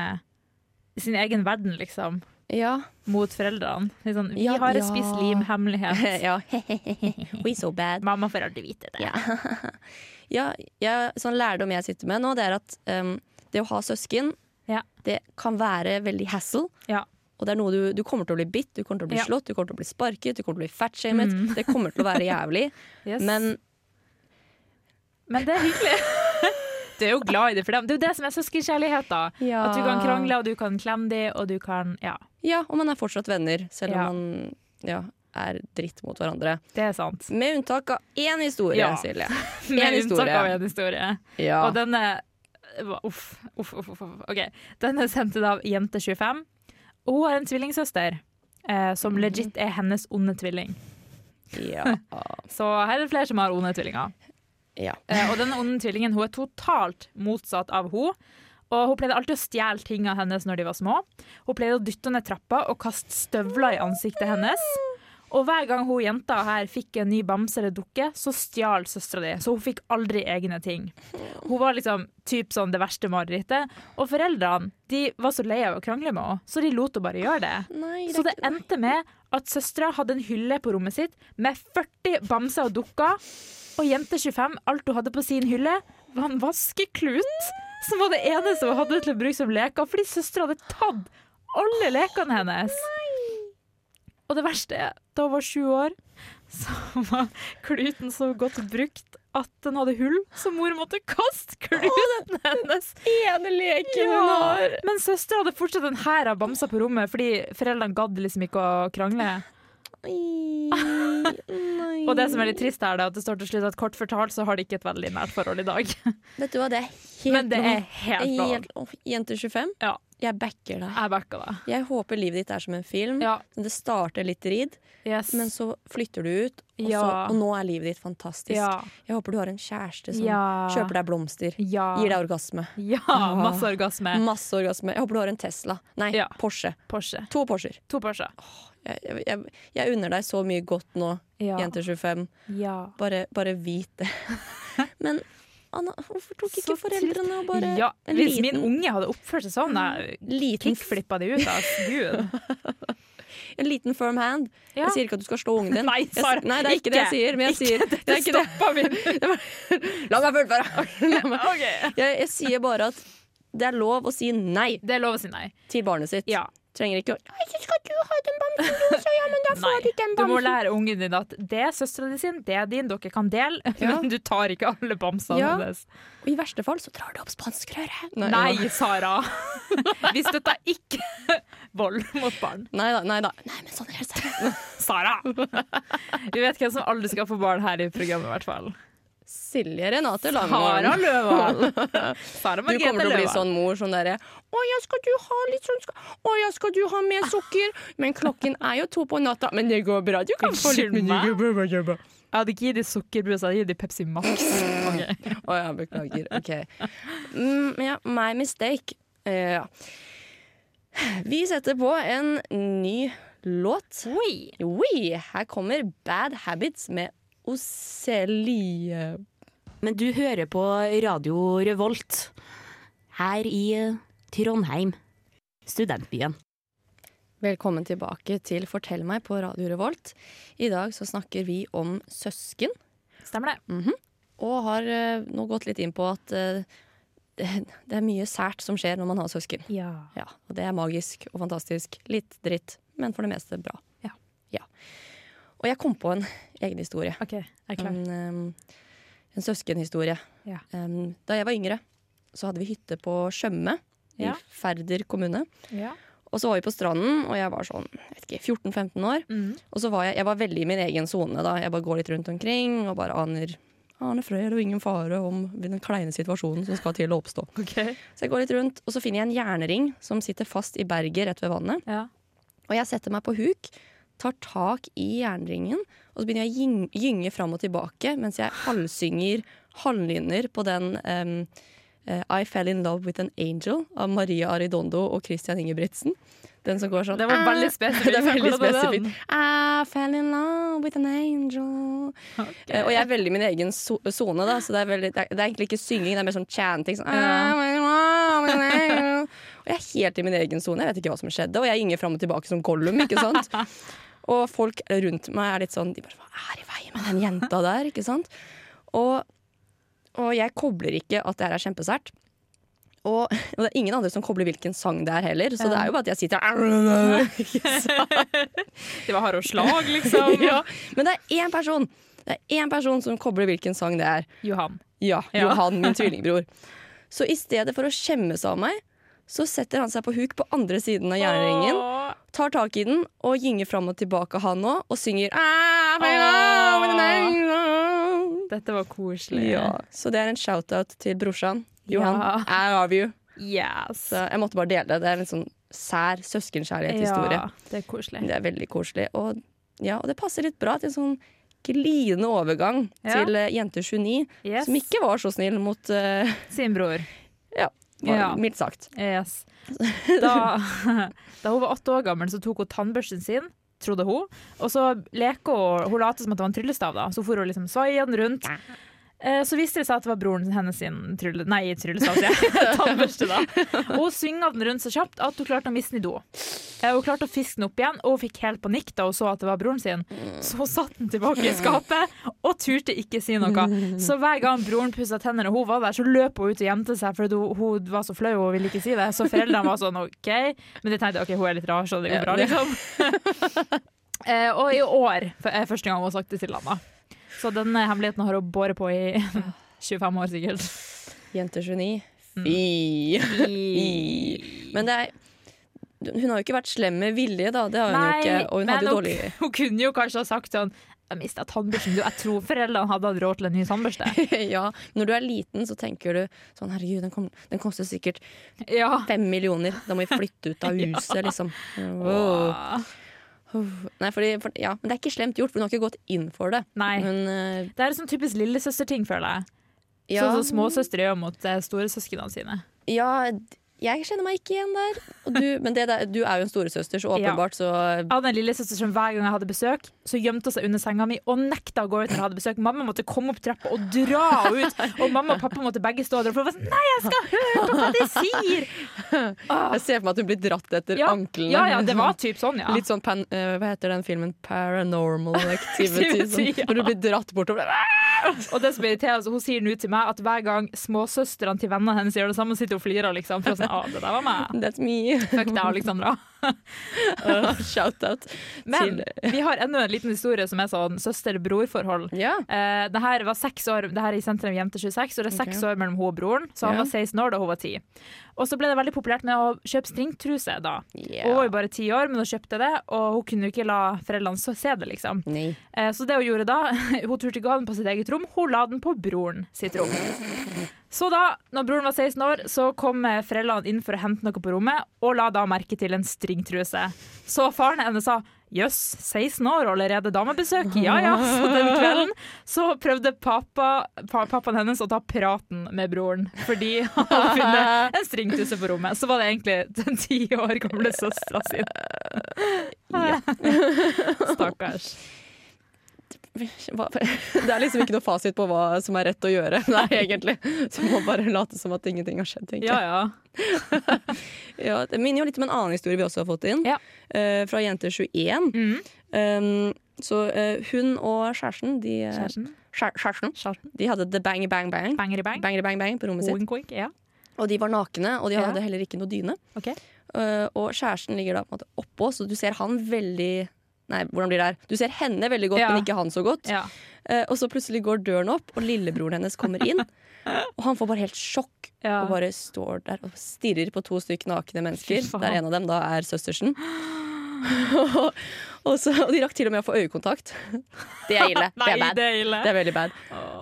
[SPEAKER 2] sin egen verden, liksom,
[SPEAKER 1] Ja.
[SPEAKER 2] mot foreldrene. Litt sånn, vi
[SPEAKER 1] Ja,
[SPEAKER 2] har et
[SPEAKER 1] ja.
[SPEAKER 2] spiss lim-hemmelighet.
[SPEAKER 1] ja. We so bad.
[SPEAKER 2] Mamma får aldri vite det.
[SPEAKER 1] Ja. ja, ja, sånn lærdom jeg sitter med nå, det er at um, det å ha søsken,
[SPEAKER 2] Ja.
[SPEAKER 1] det kan være veldig hassle.
[SPEAKER 2] Ja.
[SPEAKER 1] Og det er noe du, du kommer til å bli bitt, du kommer til å bli
[SPEAKER 2] Ja.
[SPEAKER 1] slått, du kommer til å bli sparket, du kommer til å bli fatshamet. Det kommer til å være jævlig.
[SPEAKER 2] Yes.
[SPEAKER 1] Men
[SPEAKER 2] Men det er hyggelig. Du er jo glad i det for dem. Det er jo det som er søskenkjærlighet, da.
[SPEAKER 1] Ja.
[SPEAKER 2] At du kan krangle, og du kan klemme dem, og du kan Ja,
[SPEAKER 1] Ja, og man er fortsatt venner, selv om
[SPEAKER 2] Ja.
[SPEAKER 1] man ja, er dritt mot hverandre.
[SPEAKER 2] det er sant.
[SPEAKER 1] Med unntak av én historie,
[SPEAKER 2] Ja.
[SPEAKER 1] Silje.
[SPEAKER 2] Med unntak
[SPEAKER 1] historie.
[SPEAKER 2] av en historie.
[SPEAKER 1] Ja.
[SPEAKER 2] Og denne Uff, uff, uff. uff, uff. OK. Den er sendt inn av jente25. Og hun har en tvillingsøster
[SPEAKER 1] Mhm.
[SPEAKER 2] eh, som legit er hennes onde tvilling.
[SPEAKER 1] Ja.
[SPEAKER 2] Så her er det flere som har onde tvillinger.
[SPEAKER 1] ja.
[SPEAKER 2] Eh, og denne onde tvillingen hun er totalt motsatt av hun. Og Hun pleide alltid å stjele ting av hennes når de var små. Hun pleide å dytte ned trappa og kaste støvler i ansiktet hennes. Og hver gang hun jenta her fikk en ny bamse eller dukke, så stjal søstera di. Så hun fikk aldri egne ting. Hun var liksom typ sånn det verste marerittet. Og foreldrene de var så lei av å krangle med henne, så de lot henne bare gjøre det.
[SPEAKER 1] Nei,
[SPEAKER 2] Så det endte med at søstera hadde en hylle på rommet sitt med 40 bamser og dukker. Og jente 25, alt hun hadde på sin hylle, var en vaskeklut. Som var det eneste hun hadde til å bruke som leker, fordi søstera hadde tatt alle lekene hennes. Og det verste er, da hun var sju år, så var kluten så godt brukt at den hadde hull, så mor måtte kaste kluten hennes.
[SPEAKER 1] ene leken hun har!
[SPEAKER 2] Men søstera hadde fortsatt en hær av bamser på rommet fordi foreldrene gadd liksom ikke å krangle.
[SPEAKER 1] Nei.
[SPEAKER 2] Og det som er litt trist her, det er at det står til slutt at kort fortalt så har de ikke et veldig nært forhold i dag.
[SPEAKER 1] Vet du hva, det er helt
[SPEAKER 2] Men det
[SPEAKER 1] lov.
[SPEAKER 2] er helt bra.
[SPEAKER 1] Helt- Åh, Jente 25,
[SPEAKER 2] Ja.
[SPEAKER 1] jeg backer deg.
[SPEAKER 2] Jeg backa det.
[SPEAKER 1] Jeg håper livet ditt er som en film.
[SPEAKER 2] Ja.
[SPEAKER 1] Det starter litt dritt,
[SPEAKER 2] Yes.
[SPEAKER 1] men så flytter du ut, og, så,
[SPEAKER 2] Ja.
[SPEAKER 1] og nå er livet ditt fantastisk.
[SPEAKER 2] Ja.
[SPEAKER 1] Jeg håper du har en kjæreste som
[SPEAKER 2] Ja.
[SPEAKER 1] kjøper deg blomster,
[SPEAKER 2] ja.
[SPEAKER 1] gir Mm. deg orgasme.
[SPEAKER 2] ja. Masse orgasme.
[SPEAKER 1] Masse orgasme. Jeg håper du har en Tesla. Nei,
[SPEAKER 2] Eh. Ja.
[SPEAKER 1] Porsche.
[SPEAKER 2] Porsche.
[SPEAKER 1] To Porscher.
[SPEAKER 2] To Porsche.
[SPEAKER 1] Jeg, jeg, jeg, jeg unner deg så mye godt nå,
[SPEAKER 2] Ja.
[SPEAKER 1] jente 25.
[SPEAKER 2] ja.
[SPEAKER 1] Bare, bare vit det. Men Anna, hvorfor tok ikke
[SPEAKER 2] Så
[SPEAKER 1] foreldrene og bare
[SPEAKER 2] ja.
[SPEAKER 1] en
[SPEAKER 2] Hvis
[SPEAKER 1] liten,
[SPEAKER 2] min unge hadde oppført seg sånn, jeg
[SPEAKER 1] liten, f-
[SPEAKER 2] kickflippa de ut. ass. Gud.
[SPEAKER 1] en liten firm hand?
[SPEAKER 2] Ja.
[SPEAKER 1] Jeg sier ikke at du skal slå ungen din.
[SPEAKER 2] Nei,
[SPEAKER 1] Jeg s-
[SPEAKER 2] Sara,
[SPEAKER 1] nei, det er ikke, det jeg sier. Men jeg
[SPEAKER 2] ikke.
[SPEAKER 1] sier det er ikke det.
[SPEAKER 2] Stoppa min.
[SPEAKER 1] La meg fullføre! La meg-
[SPEAKER 2] Ok.
[SPEAKER 1] Jeg, jeg sier bare at det er lov å si nei
[SPEAKER 2] Det er lov å si nei.
[SPEAKER 1] til barnet sitt.
[SPEAKER 2] Ja.
[SPEAKER 1] Trenger ikke å
[SPEAKER 2] Nei. Du må lære ungen din at det er søstera di sin, det er din, dere kan dele,
[SPEAKER 1] Ja.
[SPEAKER 2] men du tar ikke alle bamsene
[SPEAKER 1] Ja.
[SPEAKER 2] hennes.
[SPEAKER 1] Og I verste fall så drar du opp spanskrøret.
[SPEAKER 2] Nei, Sara! Vi støtter ikke vold mot barn.
[SPEAKER 1] Nei da, nei da. Nei, men sånn er det.
[SPEAKER 2] Sara! Vi vet hvem som aldri skal få barn her i programmet, i hvert fall.
[SPEAKER 1] Silje Renate
[SPEAKER 2] Sara
[SPEAKER 1] Langholm.
[SPEAKER 2] Løvahl. Sara
[SPEAKER 1] Du
[SPEAKER 2] Margrethe
[SPEAKER 1] kommer til å bli
[SPEAKER 2] Løvahl.
[SPEAKER 1] sånn mor sånn derre Å ja, skal du ha litt sånn ska- Å ja, skal du ha mer sukker? Men klokken er jo to på natta. Men det går bra. Du kan få litt
[SPEAKER 2] Unnskyld meg?
[SPEAKER 1] mindre.
[SPEAKER 2] Jeg hadde ikke gitt dem sukkerbrus, jeg hadde gitt dem Pepsi Max. Ok.
[SPEAKER 1] Å ja, beklager. OK. Mm, ja, my mistake. Eh, ja. Vi setter på en ny låt. Oui, her kommer Bad Habits med Oselie.
[SPEAKER 10] Men du hører på Radio Revolt her i eh, Trondheim, studentbyen.
[SPEAKER 1] Velkommen tilbake til Fortell meg på Radio Revolt. I dag så snakker vi om søsken,
[SPEAKER 2] Stemmer det.
[SPEAKER 1] og har eh, nå gått litt inn på at eh, det det er mye sært som skjer når man har søsken.
[SPEAKER 2] Ja.
[SPEAKER 1] Ja, og det er magisk og fantastisk. Litt dritt, men for det meste bra.
[SPEAKER 2] Ja.
[SPEAKER 1] Ja. Og jeg kom på en egen historie.
[SPEAKER 2] OK, jeg er klar.
[SPEAKER 1] En, em, en søskenhistorie.
[SPEAKER 2] Ja.
[SPEAKER 1] Em, da jeg var yngre, så hadde vi hytte på Tjøme i
[SPEAKER 2] Ja.
[SPEAKER 1] Færder kommune.
[SPEAKER 2] Ja.
[SPEAKER 1] Og så var vi på stranden, og jeg var sånn jeg vet ikke, 14-15 år.
[SPEAKER 2] Mm.
[SPEAKER 1] Og så var jeg, jeg var veldig i min egen sone. da. Jeg bare går litt rundt omkring og bare aner aner frøer og ingen fare om den kleine situasjonen som skal til å oppstå.
[SPEAKER 2] OK.
[SPEAKER 1] Så jeg går litt rundt, og så finner jeg en jernring som sitter fast i berget rett ved vannet.
[SPEAKER 2] Ja.
[SPEAKER 1] Og jeg setter meg på huk, tar tak i jernringen, og så begynner jeg å gyng- gynge fram og tilbake mens jeg halvsynger halvnynner på den em, eh, I Fell In Love With An Angel av Maria Aridondo og Christian Ingebrigtsen. Den som går sånn
[SPEAKER 2] Det var veldig
[SPEAKER 1] «Ah!»
[SPEAKER 2] spesifikt.
[SPEAKER 1] Det er veldig
[SPEAKER 2] Hvordan var den?
[SPEAKER 1] spesifikt. I fell in love with an angel. Eh, Og jeg er veldig i min egen so- sone, da, så det er, veldig, det, er, det er egentlig ikke synging, det er mer sånn chanting. Sånn, I fell in love with an angel. Og jeg er helt i min egen sone, jeg vet ikke hva som skjedde, og jeg gynger fram og tilbake som Gollum. Ikke sant? Og folk rundt meg er litt sånn de bare, Hva er i veien med den jenta der? Ikke sant? Og, og jeg kobler ikke at det her er kjempesært. Og, og det er ingen andre som kobler hvilken sang det er heller, så det er jo bare at jeg sitter ikke sant?
[SPEAKER 2] Det var harde slag, liksom.
[SPEAKER 1] ja. Men det er én person Det er én person som kobler hvilken sang det er.
[SPEAKER 2] Johan.
[SPEAKER 1] Ja,
[SPEAKER 2] Ja.
[SPEAKER 1] Johan, min tvillingbror. Så i stedet for å skjemme seg av meg, så setter han seg på huk på andre siden av jernringen, tar tak i den og gynger fram og tilbake han òg, og synger «Ah, my God, my God».
[SPEAKER 2] Dette var koselig.
[SPEAKER 1] ja, Så det er en shout-out til brorsan. Johan,
[SPEAKER 2] Ja.
[SPEAKER 1] I love you.
[SPEAKER 2] Yes.
[SPEAKER 1] Så jeg måtte bare dele det. Det er en sånn sær søskenkjærlighetshistorie.
[SPEAKER 2] Ja, det er koselig.
[SPEAKER 1] Det er veldig koselig. Og, ja, og det passer litt bra til en sånn glidende overgang
[SPEAKER 2] Ja.
[SPEAKER 1] til eh, jente 29,
[SPEAKER 2] Yes.
[SPEAKER 1] som ikke var så snill mot eh,
[SPEAKER 2] Sin bror.
[SPEAKER 1] Ja, var-
[SPEAKER 2] Ja.
[SPEAKER 1] mildt sagt.
[SPEAKER 2] Yes. Da, da hun var åtte år gammel, så tok hun tannbørsten sin, trodde hun. Og så leker hun Hun later som at det var en tryllestav, da. Så for hun liksom svaia den rundt. Eh, Så viste det seg at det var broren hennes sin trylle... Nei, tryllestav, sier jeg. Tannbørste, da. Og hun svinga den rundt så kjapt at hun klarte å miste den i do. Eh, Hun klarte å fiske den opp igjen, og hun fikk helt panikk da hun så at det var broren sin. Så hun satte den tilbake i skapet og turte ikke si noe. Så hver gang broren pussa tennene og hun var der, så løp hun ut og gjemte seg fordi hun, hun var så flau og ville ikke si det. Så foreldrene var sånn OK, men de tenkte OK, hun er litt rar, så det går bra, liksom. Eh, og i år f- er første gang hun har sagt det til han, da. Så denne hemmeligheten har hun båret på i 25 år, sikkert.
[SPEAKER 1] Jente 29.
[SPEAKER 2] Mm.
[SPEAKER 1] Fy! I. Men det er Hun har jo ikke vært slem med vilje, da. Det har hun jo ikke. Og hun
[SPEAKER 2] men
[SPEAKER 1] hadde jo
[SPEAKER 2] hun,
[SPEAKER 1] dårlig
[SPEAKER 2] hun kunne jo kanskje ha sagt sånn Jeg mista tannbørsten. Du, jeg tror foreldrene hadde hatt råd til en ny tannbørste.
[SPEAKER 1] Ja, når du er liten, så tenker du sånn herregud, den, kom, den koster sikkert
[SPEAKER 2] Ja.
[SPEAKER 1] fem millioner. Da må vi flytte ut av huset, liksom. Wow.
[SPEAKER 2] Åh.
[SPEAKER 1] Nei, fordi, for, ja, men det er ikke slemt gjort, for hun har ikke gått inn for det.
[SPEAKER 2] Nei.
[SPEAKER 1] Men eh,
[SPEAKER 2] Det er sånn typisk lillesøsterting, føler jeg.
[SPEAKER 1] ja,
[SPEAKER 2] Sånn som småsøstre gjør mot eh, storesøsknene sine.
[SPEAKER 1] ja, jeg kjenner meg ikke igjen der. Og du, men det der, du er jo en storesøster, så
[SPEAKER 2] Ja.
[SPEAKER 1] åpenbart så
[SPEAKER 2] Jeg hadde en lillesøster som hver gang jeg hadde besøk, så gjemte hun seg under senga mi og nekta å gå ut når jeg hadde besøk. Mamma måtte komme opp trappa og dra henne ut, og mamma og pappa måtte begge stå der. For hun var sånn Nei, jeg skal høre på hva de sier!
[SPEAKER 1] Jeg ser for meg at hun blir dratt etter
[SPEAKER 2] Ah. Ja,
[SPEAKER 1] anklene.
[SPEAKER 2] ja, ja, det var typ sånn, ja.
[SPEAKER 1] Litt sånn pan, eh, Hva heter den filmen? Paranormal Activity. sånn,
[SPEAKER 2] Activity, ja.
[SPEAKER 1] Når du blir dratt bortover.
[SPEAKER 2] Og det som irriterer, altså, hun sier nå til meg at hver gang småsøstrene til vennene hennes gjør det samme, sitter hun og flirer, liksom. For hun er sånn, ah, det der var meg.
[SPEAKER 1] That's me.
[SPEAKER 2] Fuck deg, Alexandra.
[SPEAKER 1] Shout-out.
[SPEAKER 2] Men
[SPEAKER 1] til-
[SPEAKER 2] vi har enda en liten historie som er sånn søster-bror-forhold.
[SPEAKER 1] Ja.
[SPEAKER 2] Eh, det her var seks år Det her er i sentrum hjem til 26, og det er seks år mellom hun og broren. Så han
[SPEAKER 1] Ja.
[SPEAKER 2] var 16 år da hun var 10. Og så ble det veldig populært med å kjøpe stringtruse da.
[SPEAKER 1] Yeah.
[SPEAKER 2] Hun var jo bare 10 år, men hun kjøpte det, og hun kunne jo ikke la foreldrene så- se det, liksom.
[SPEAKER 1] Nei.
[SPEAKER 2] Eh, Så det hun gjorde da, hun turte ikke å ha den på sitt eget rom, hun la den på broren sitt rom. Så da, når broren var 16 år, så kom eh, foreldrene inn for å hente noe på rommet, og la da merke til en stringtruse. Så faren hennes sa jøss, 16 år og allerede damebesøk? Ja ja. Så den kvelden så prøvde pappa, pa, pappaen hennes å ta praten med broren, fordi han hadde funnet en stringtruse på rommet. Så var det egentlig den ti år gamle søstera sin. Stakkars.
[SPEAKER 1] Hva- Det er liksom ikke noe fasit på hva som er rett å gjøre. Nei, egentlig. Så man bare late som at ingenting har skjedd. tenker jeg.
[SPEAKER 2] Ja ja.
[SPEAKER 1] Ja, det minner jo litt om en annen historie vi også har fått inn,
[SPEAKER 2] Ja. Mhm.
[SPEAKER 1] eh, fra jente 21. Um, så eh, hun og kjæresten de, eh,
[SPEAKER 2] Kjæresten.
[SPEAKER 1] skjær- kjæresten,
[SPEAKER 2] Kjæresten.
[SPEAKER 1] de hadde the bang bang bang.
[SPEAKER 2] Banger i bang.
[SPEAKER 1] Bangeri bang bang på rommet sitt.
[SPEAKER 2] Oink, oink, ja.
[SPEAKER 1] Og de var nakne, og de
[SPEAKER 2] Ja.
[SPEAKER 1] hadde heller ikke noe dyne.
[SPEAKER 2] Ok.
[SPEAKER 1] Eh, og kjæresten ligger da på en måte oppå, så du ser han veldig Nei, hvordan blir det her? Du ser henne veldig godt,
[SPEAKER 2] Ja.
[SPEAKER 1] men ikke han så godt.
[SPEAKER 2] Ja.
[SPEAKER 1] Eh, og så plutselig går døren opp, og lillebroren hennes kommer inn. Og han får bare helt sjokk
[SPEAKER 2] Ja.
[SPEAKER 1] og bare står der og stirrer på to stykker nakne mennesker.
[SPEAKER 2] Fy faen.
[SPEAKER 1] Der en av dem da er søstersen. og, og, så, og de rakk til og med å få øyekontakt. Det er ille. Det
[SPEAKER 2] Nei,
[SPEAKER 1] er bad.
[SPEAKER 2] det er ille.
[SPEAKER 1] Det er veldig bad.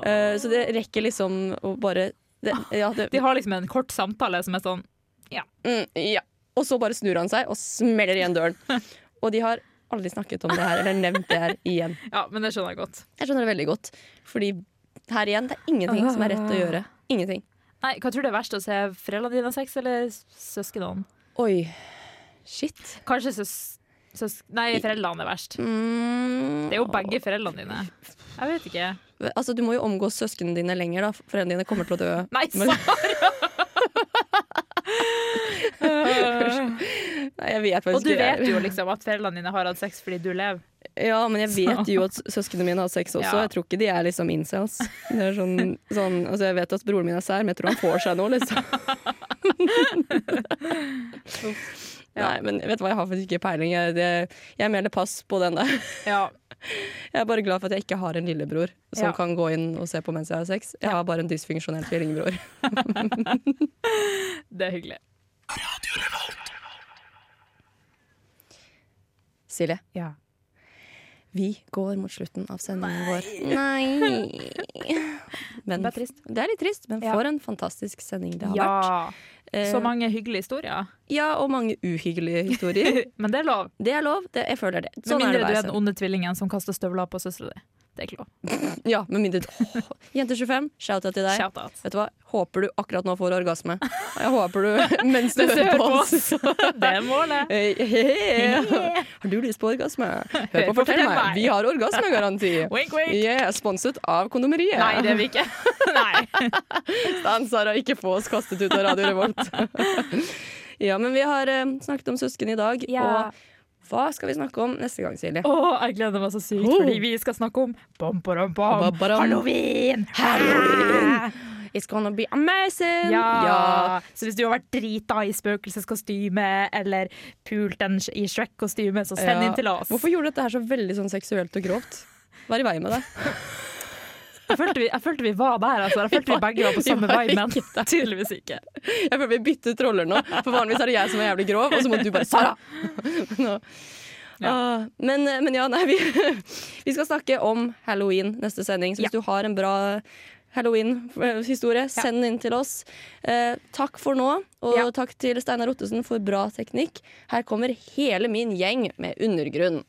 [SPEAKER 1] Eh, så det rekker liksom å bare det, ja, det,
[SPEAKER 2] Ah, De har liksom en kort samtale som er sånn
[SPEAKER 1] mm, ja. Og så bare snur han seg og smeller igjen døren. Og de har aldri snakket om det her eller nevnt det her igjen.
[SPEAKER 2] Ja, men det skjønner jeg godt.
[SPEAKER 1] Jeg skjønner det veldig godt. Fordi her igjen, det er ingenting som er rett å gjøre. Ingenting.
[SPEAKER 2] Nei, Hva tror du er verst, å se foreldrene dine ha sex eller s- søsknene?
[SPEAKER 1] Oi. Shit.
[SPEAKER 2] Kanskje søs... søs nei, foreldrene er verst.
[SPEAKER 1] Mm.
[SPEAKER 2] Det er jo begge foreldrene dine. Jeg vet ikke.
[SPEAKER 1] Altså, du må jo omgås søsknene dine lenger, da. Foreldrene dine kommer til å dø.
[SPEAKER 2] Nei,
[SPEAKER 1] Men-
[SPEAKER 2] Sara! Øh,
[SPEAKER 1] Nei, jeg vet faktisk
[SPEAKER 2] Og du
[SPEAKER 1] ikke.
[SPEAKER 2] vet jo liksom at foreldrene dine har hatt sex fordi du lever.
[SPEAKER 1] Ja, men jeg vet jo at søsknene mine har sex også.
[SPEAKER 2] Ja.
[SPEAKER 1] Jeg tror ikke de er liksom incels. Det er sånn, sånn, altså, jeg vet at broren min er sær, men jeg tror han får seg noe, liksom. Nei, men vet du hva, jeg har faktisk ikke peiling. Jeg, det, jeg melder pass på den der.
[SPEAKER 2] Ja.
[SPEAKER 1] Jeg er bare glad for at jeg ikke har en lillebror som
[SPEAKER 2] Ja.
[SPEAKER 1] kan gå inn og se på mens jeg har sex. Jeg har bare en dysfunksjonell tvillingbror.
[SPEAKER 2] Det er hyggelig.
[SPEAKER 1] Silje,
[SPEAKER 2] Ja.
[SPEAKER 1] vi går mot slutten av sendingen vår. Nei! Men,
[SPEAKER 2] Det er trist.
[SPEAKER 1] Det er litt trist, men
[SPEAKER 2] Ja.
[SPEAKER 1] for en fantastisk sending det har vært.
[SPEAKER 2] ja.
[SPEAKER 1] Eh,
[SPEAKER 2] Så mange hyggelige historier.
[SPEAKER 1] ja, og mange uhyggelige historier.
[SPEAKER 2] Men det er lov.
[SPEAKER 1] Det er lov. Det, jeg føler det.
[SPEAKER 2] Med mindre du
[SPEAKER 1] hver
[SPEAKER 2] Sånn er den
[SPEAKER 1] sending.
[SPEAKER 2] onde tvillingen som kaster støvler på søstera di. Det er ikke lov.
[SPEAKER 1] Ja, med mindre Åh, Jente 25, shout-out til deg.
[SPEAKER 2] Shout-out.
[SPEAKER 1] Vet du hva? Håper du akkurat nå får orgasme. Jeg håper du mens du
[SPEAKER 2] Mens du
[SPEAKER 1] hører på
[SPEAKER 2] hører på
[SPEAKER 1] oss.
[SPEAKER 2] Det er målet.
[SPEAKER 1] Hey, hey. Har du lyst på orgasme? Hør på Fortell meg. Vi har orgasmegaranti.
[SPEAKER 2] Wink, wink.
[SPEAKER 1] Yeah, sponset av Kondomeriet.
[SPEAKER 2] Nei, det er vi ikke. Nei.
[SPEAKER 1] Stan Sara, ikke få oss kastet ut av Radio Revolt. ja, men vi har eh, snakket om søsken i dag.
[SPEAKER 2] Ja.
[SPEAKER 1] Og hva skal vi snakke om neste gang, Silje?
[SPEAKER 2] Å, jeg gleder meg så sykt, fordi vi skal snakke om bom, bom, bom.
[SPEAKER 1] Ba-ba-dam.
[SPEAKER 2] Halloween!
[SPEAKER 1] Halloween! It's gonna be amazing!
[SPEAKER 2] Ja.
[SPEAKER 1] Ja.
[SPEAKER 2] Så hvis du har vært drita i spøkelseskostyme eller pult en sh- i Shrek-kostyme, så send
[SPEAKER 1] Ja.
[SPEAKER 2] inn til oss.
[SPEAKER 1] Hvorfor gjorde du dette her så veldig sånn seksuelt og grovt? Hva er i veien med det?
[SPEAKER 2] Jeg følte, vi, jeg følte vi var der, altså. Jeg følte vi begge var på samme
[SPEAKER 1] var
[SPEAKER 2] vei, men tydeligvis ikke.
[SPEAKER 1] Jeg føler vi bytter roller nå, for vanligvis er det jeg som er jævlig grov, og så må du bare Sara! Nå. Ah, men, men ja, nei, vi, vi skal snakke om halloween neste sending, så hvis du har en bra halloween-historie, send den inn til oss. Eh, takk for nå, og
[SPEAKER 2] Ja.
[SPEAKER 1] takk til Steinar Ottesen for bra teknikk. Her kommer hele min gjeng med undergrunn.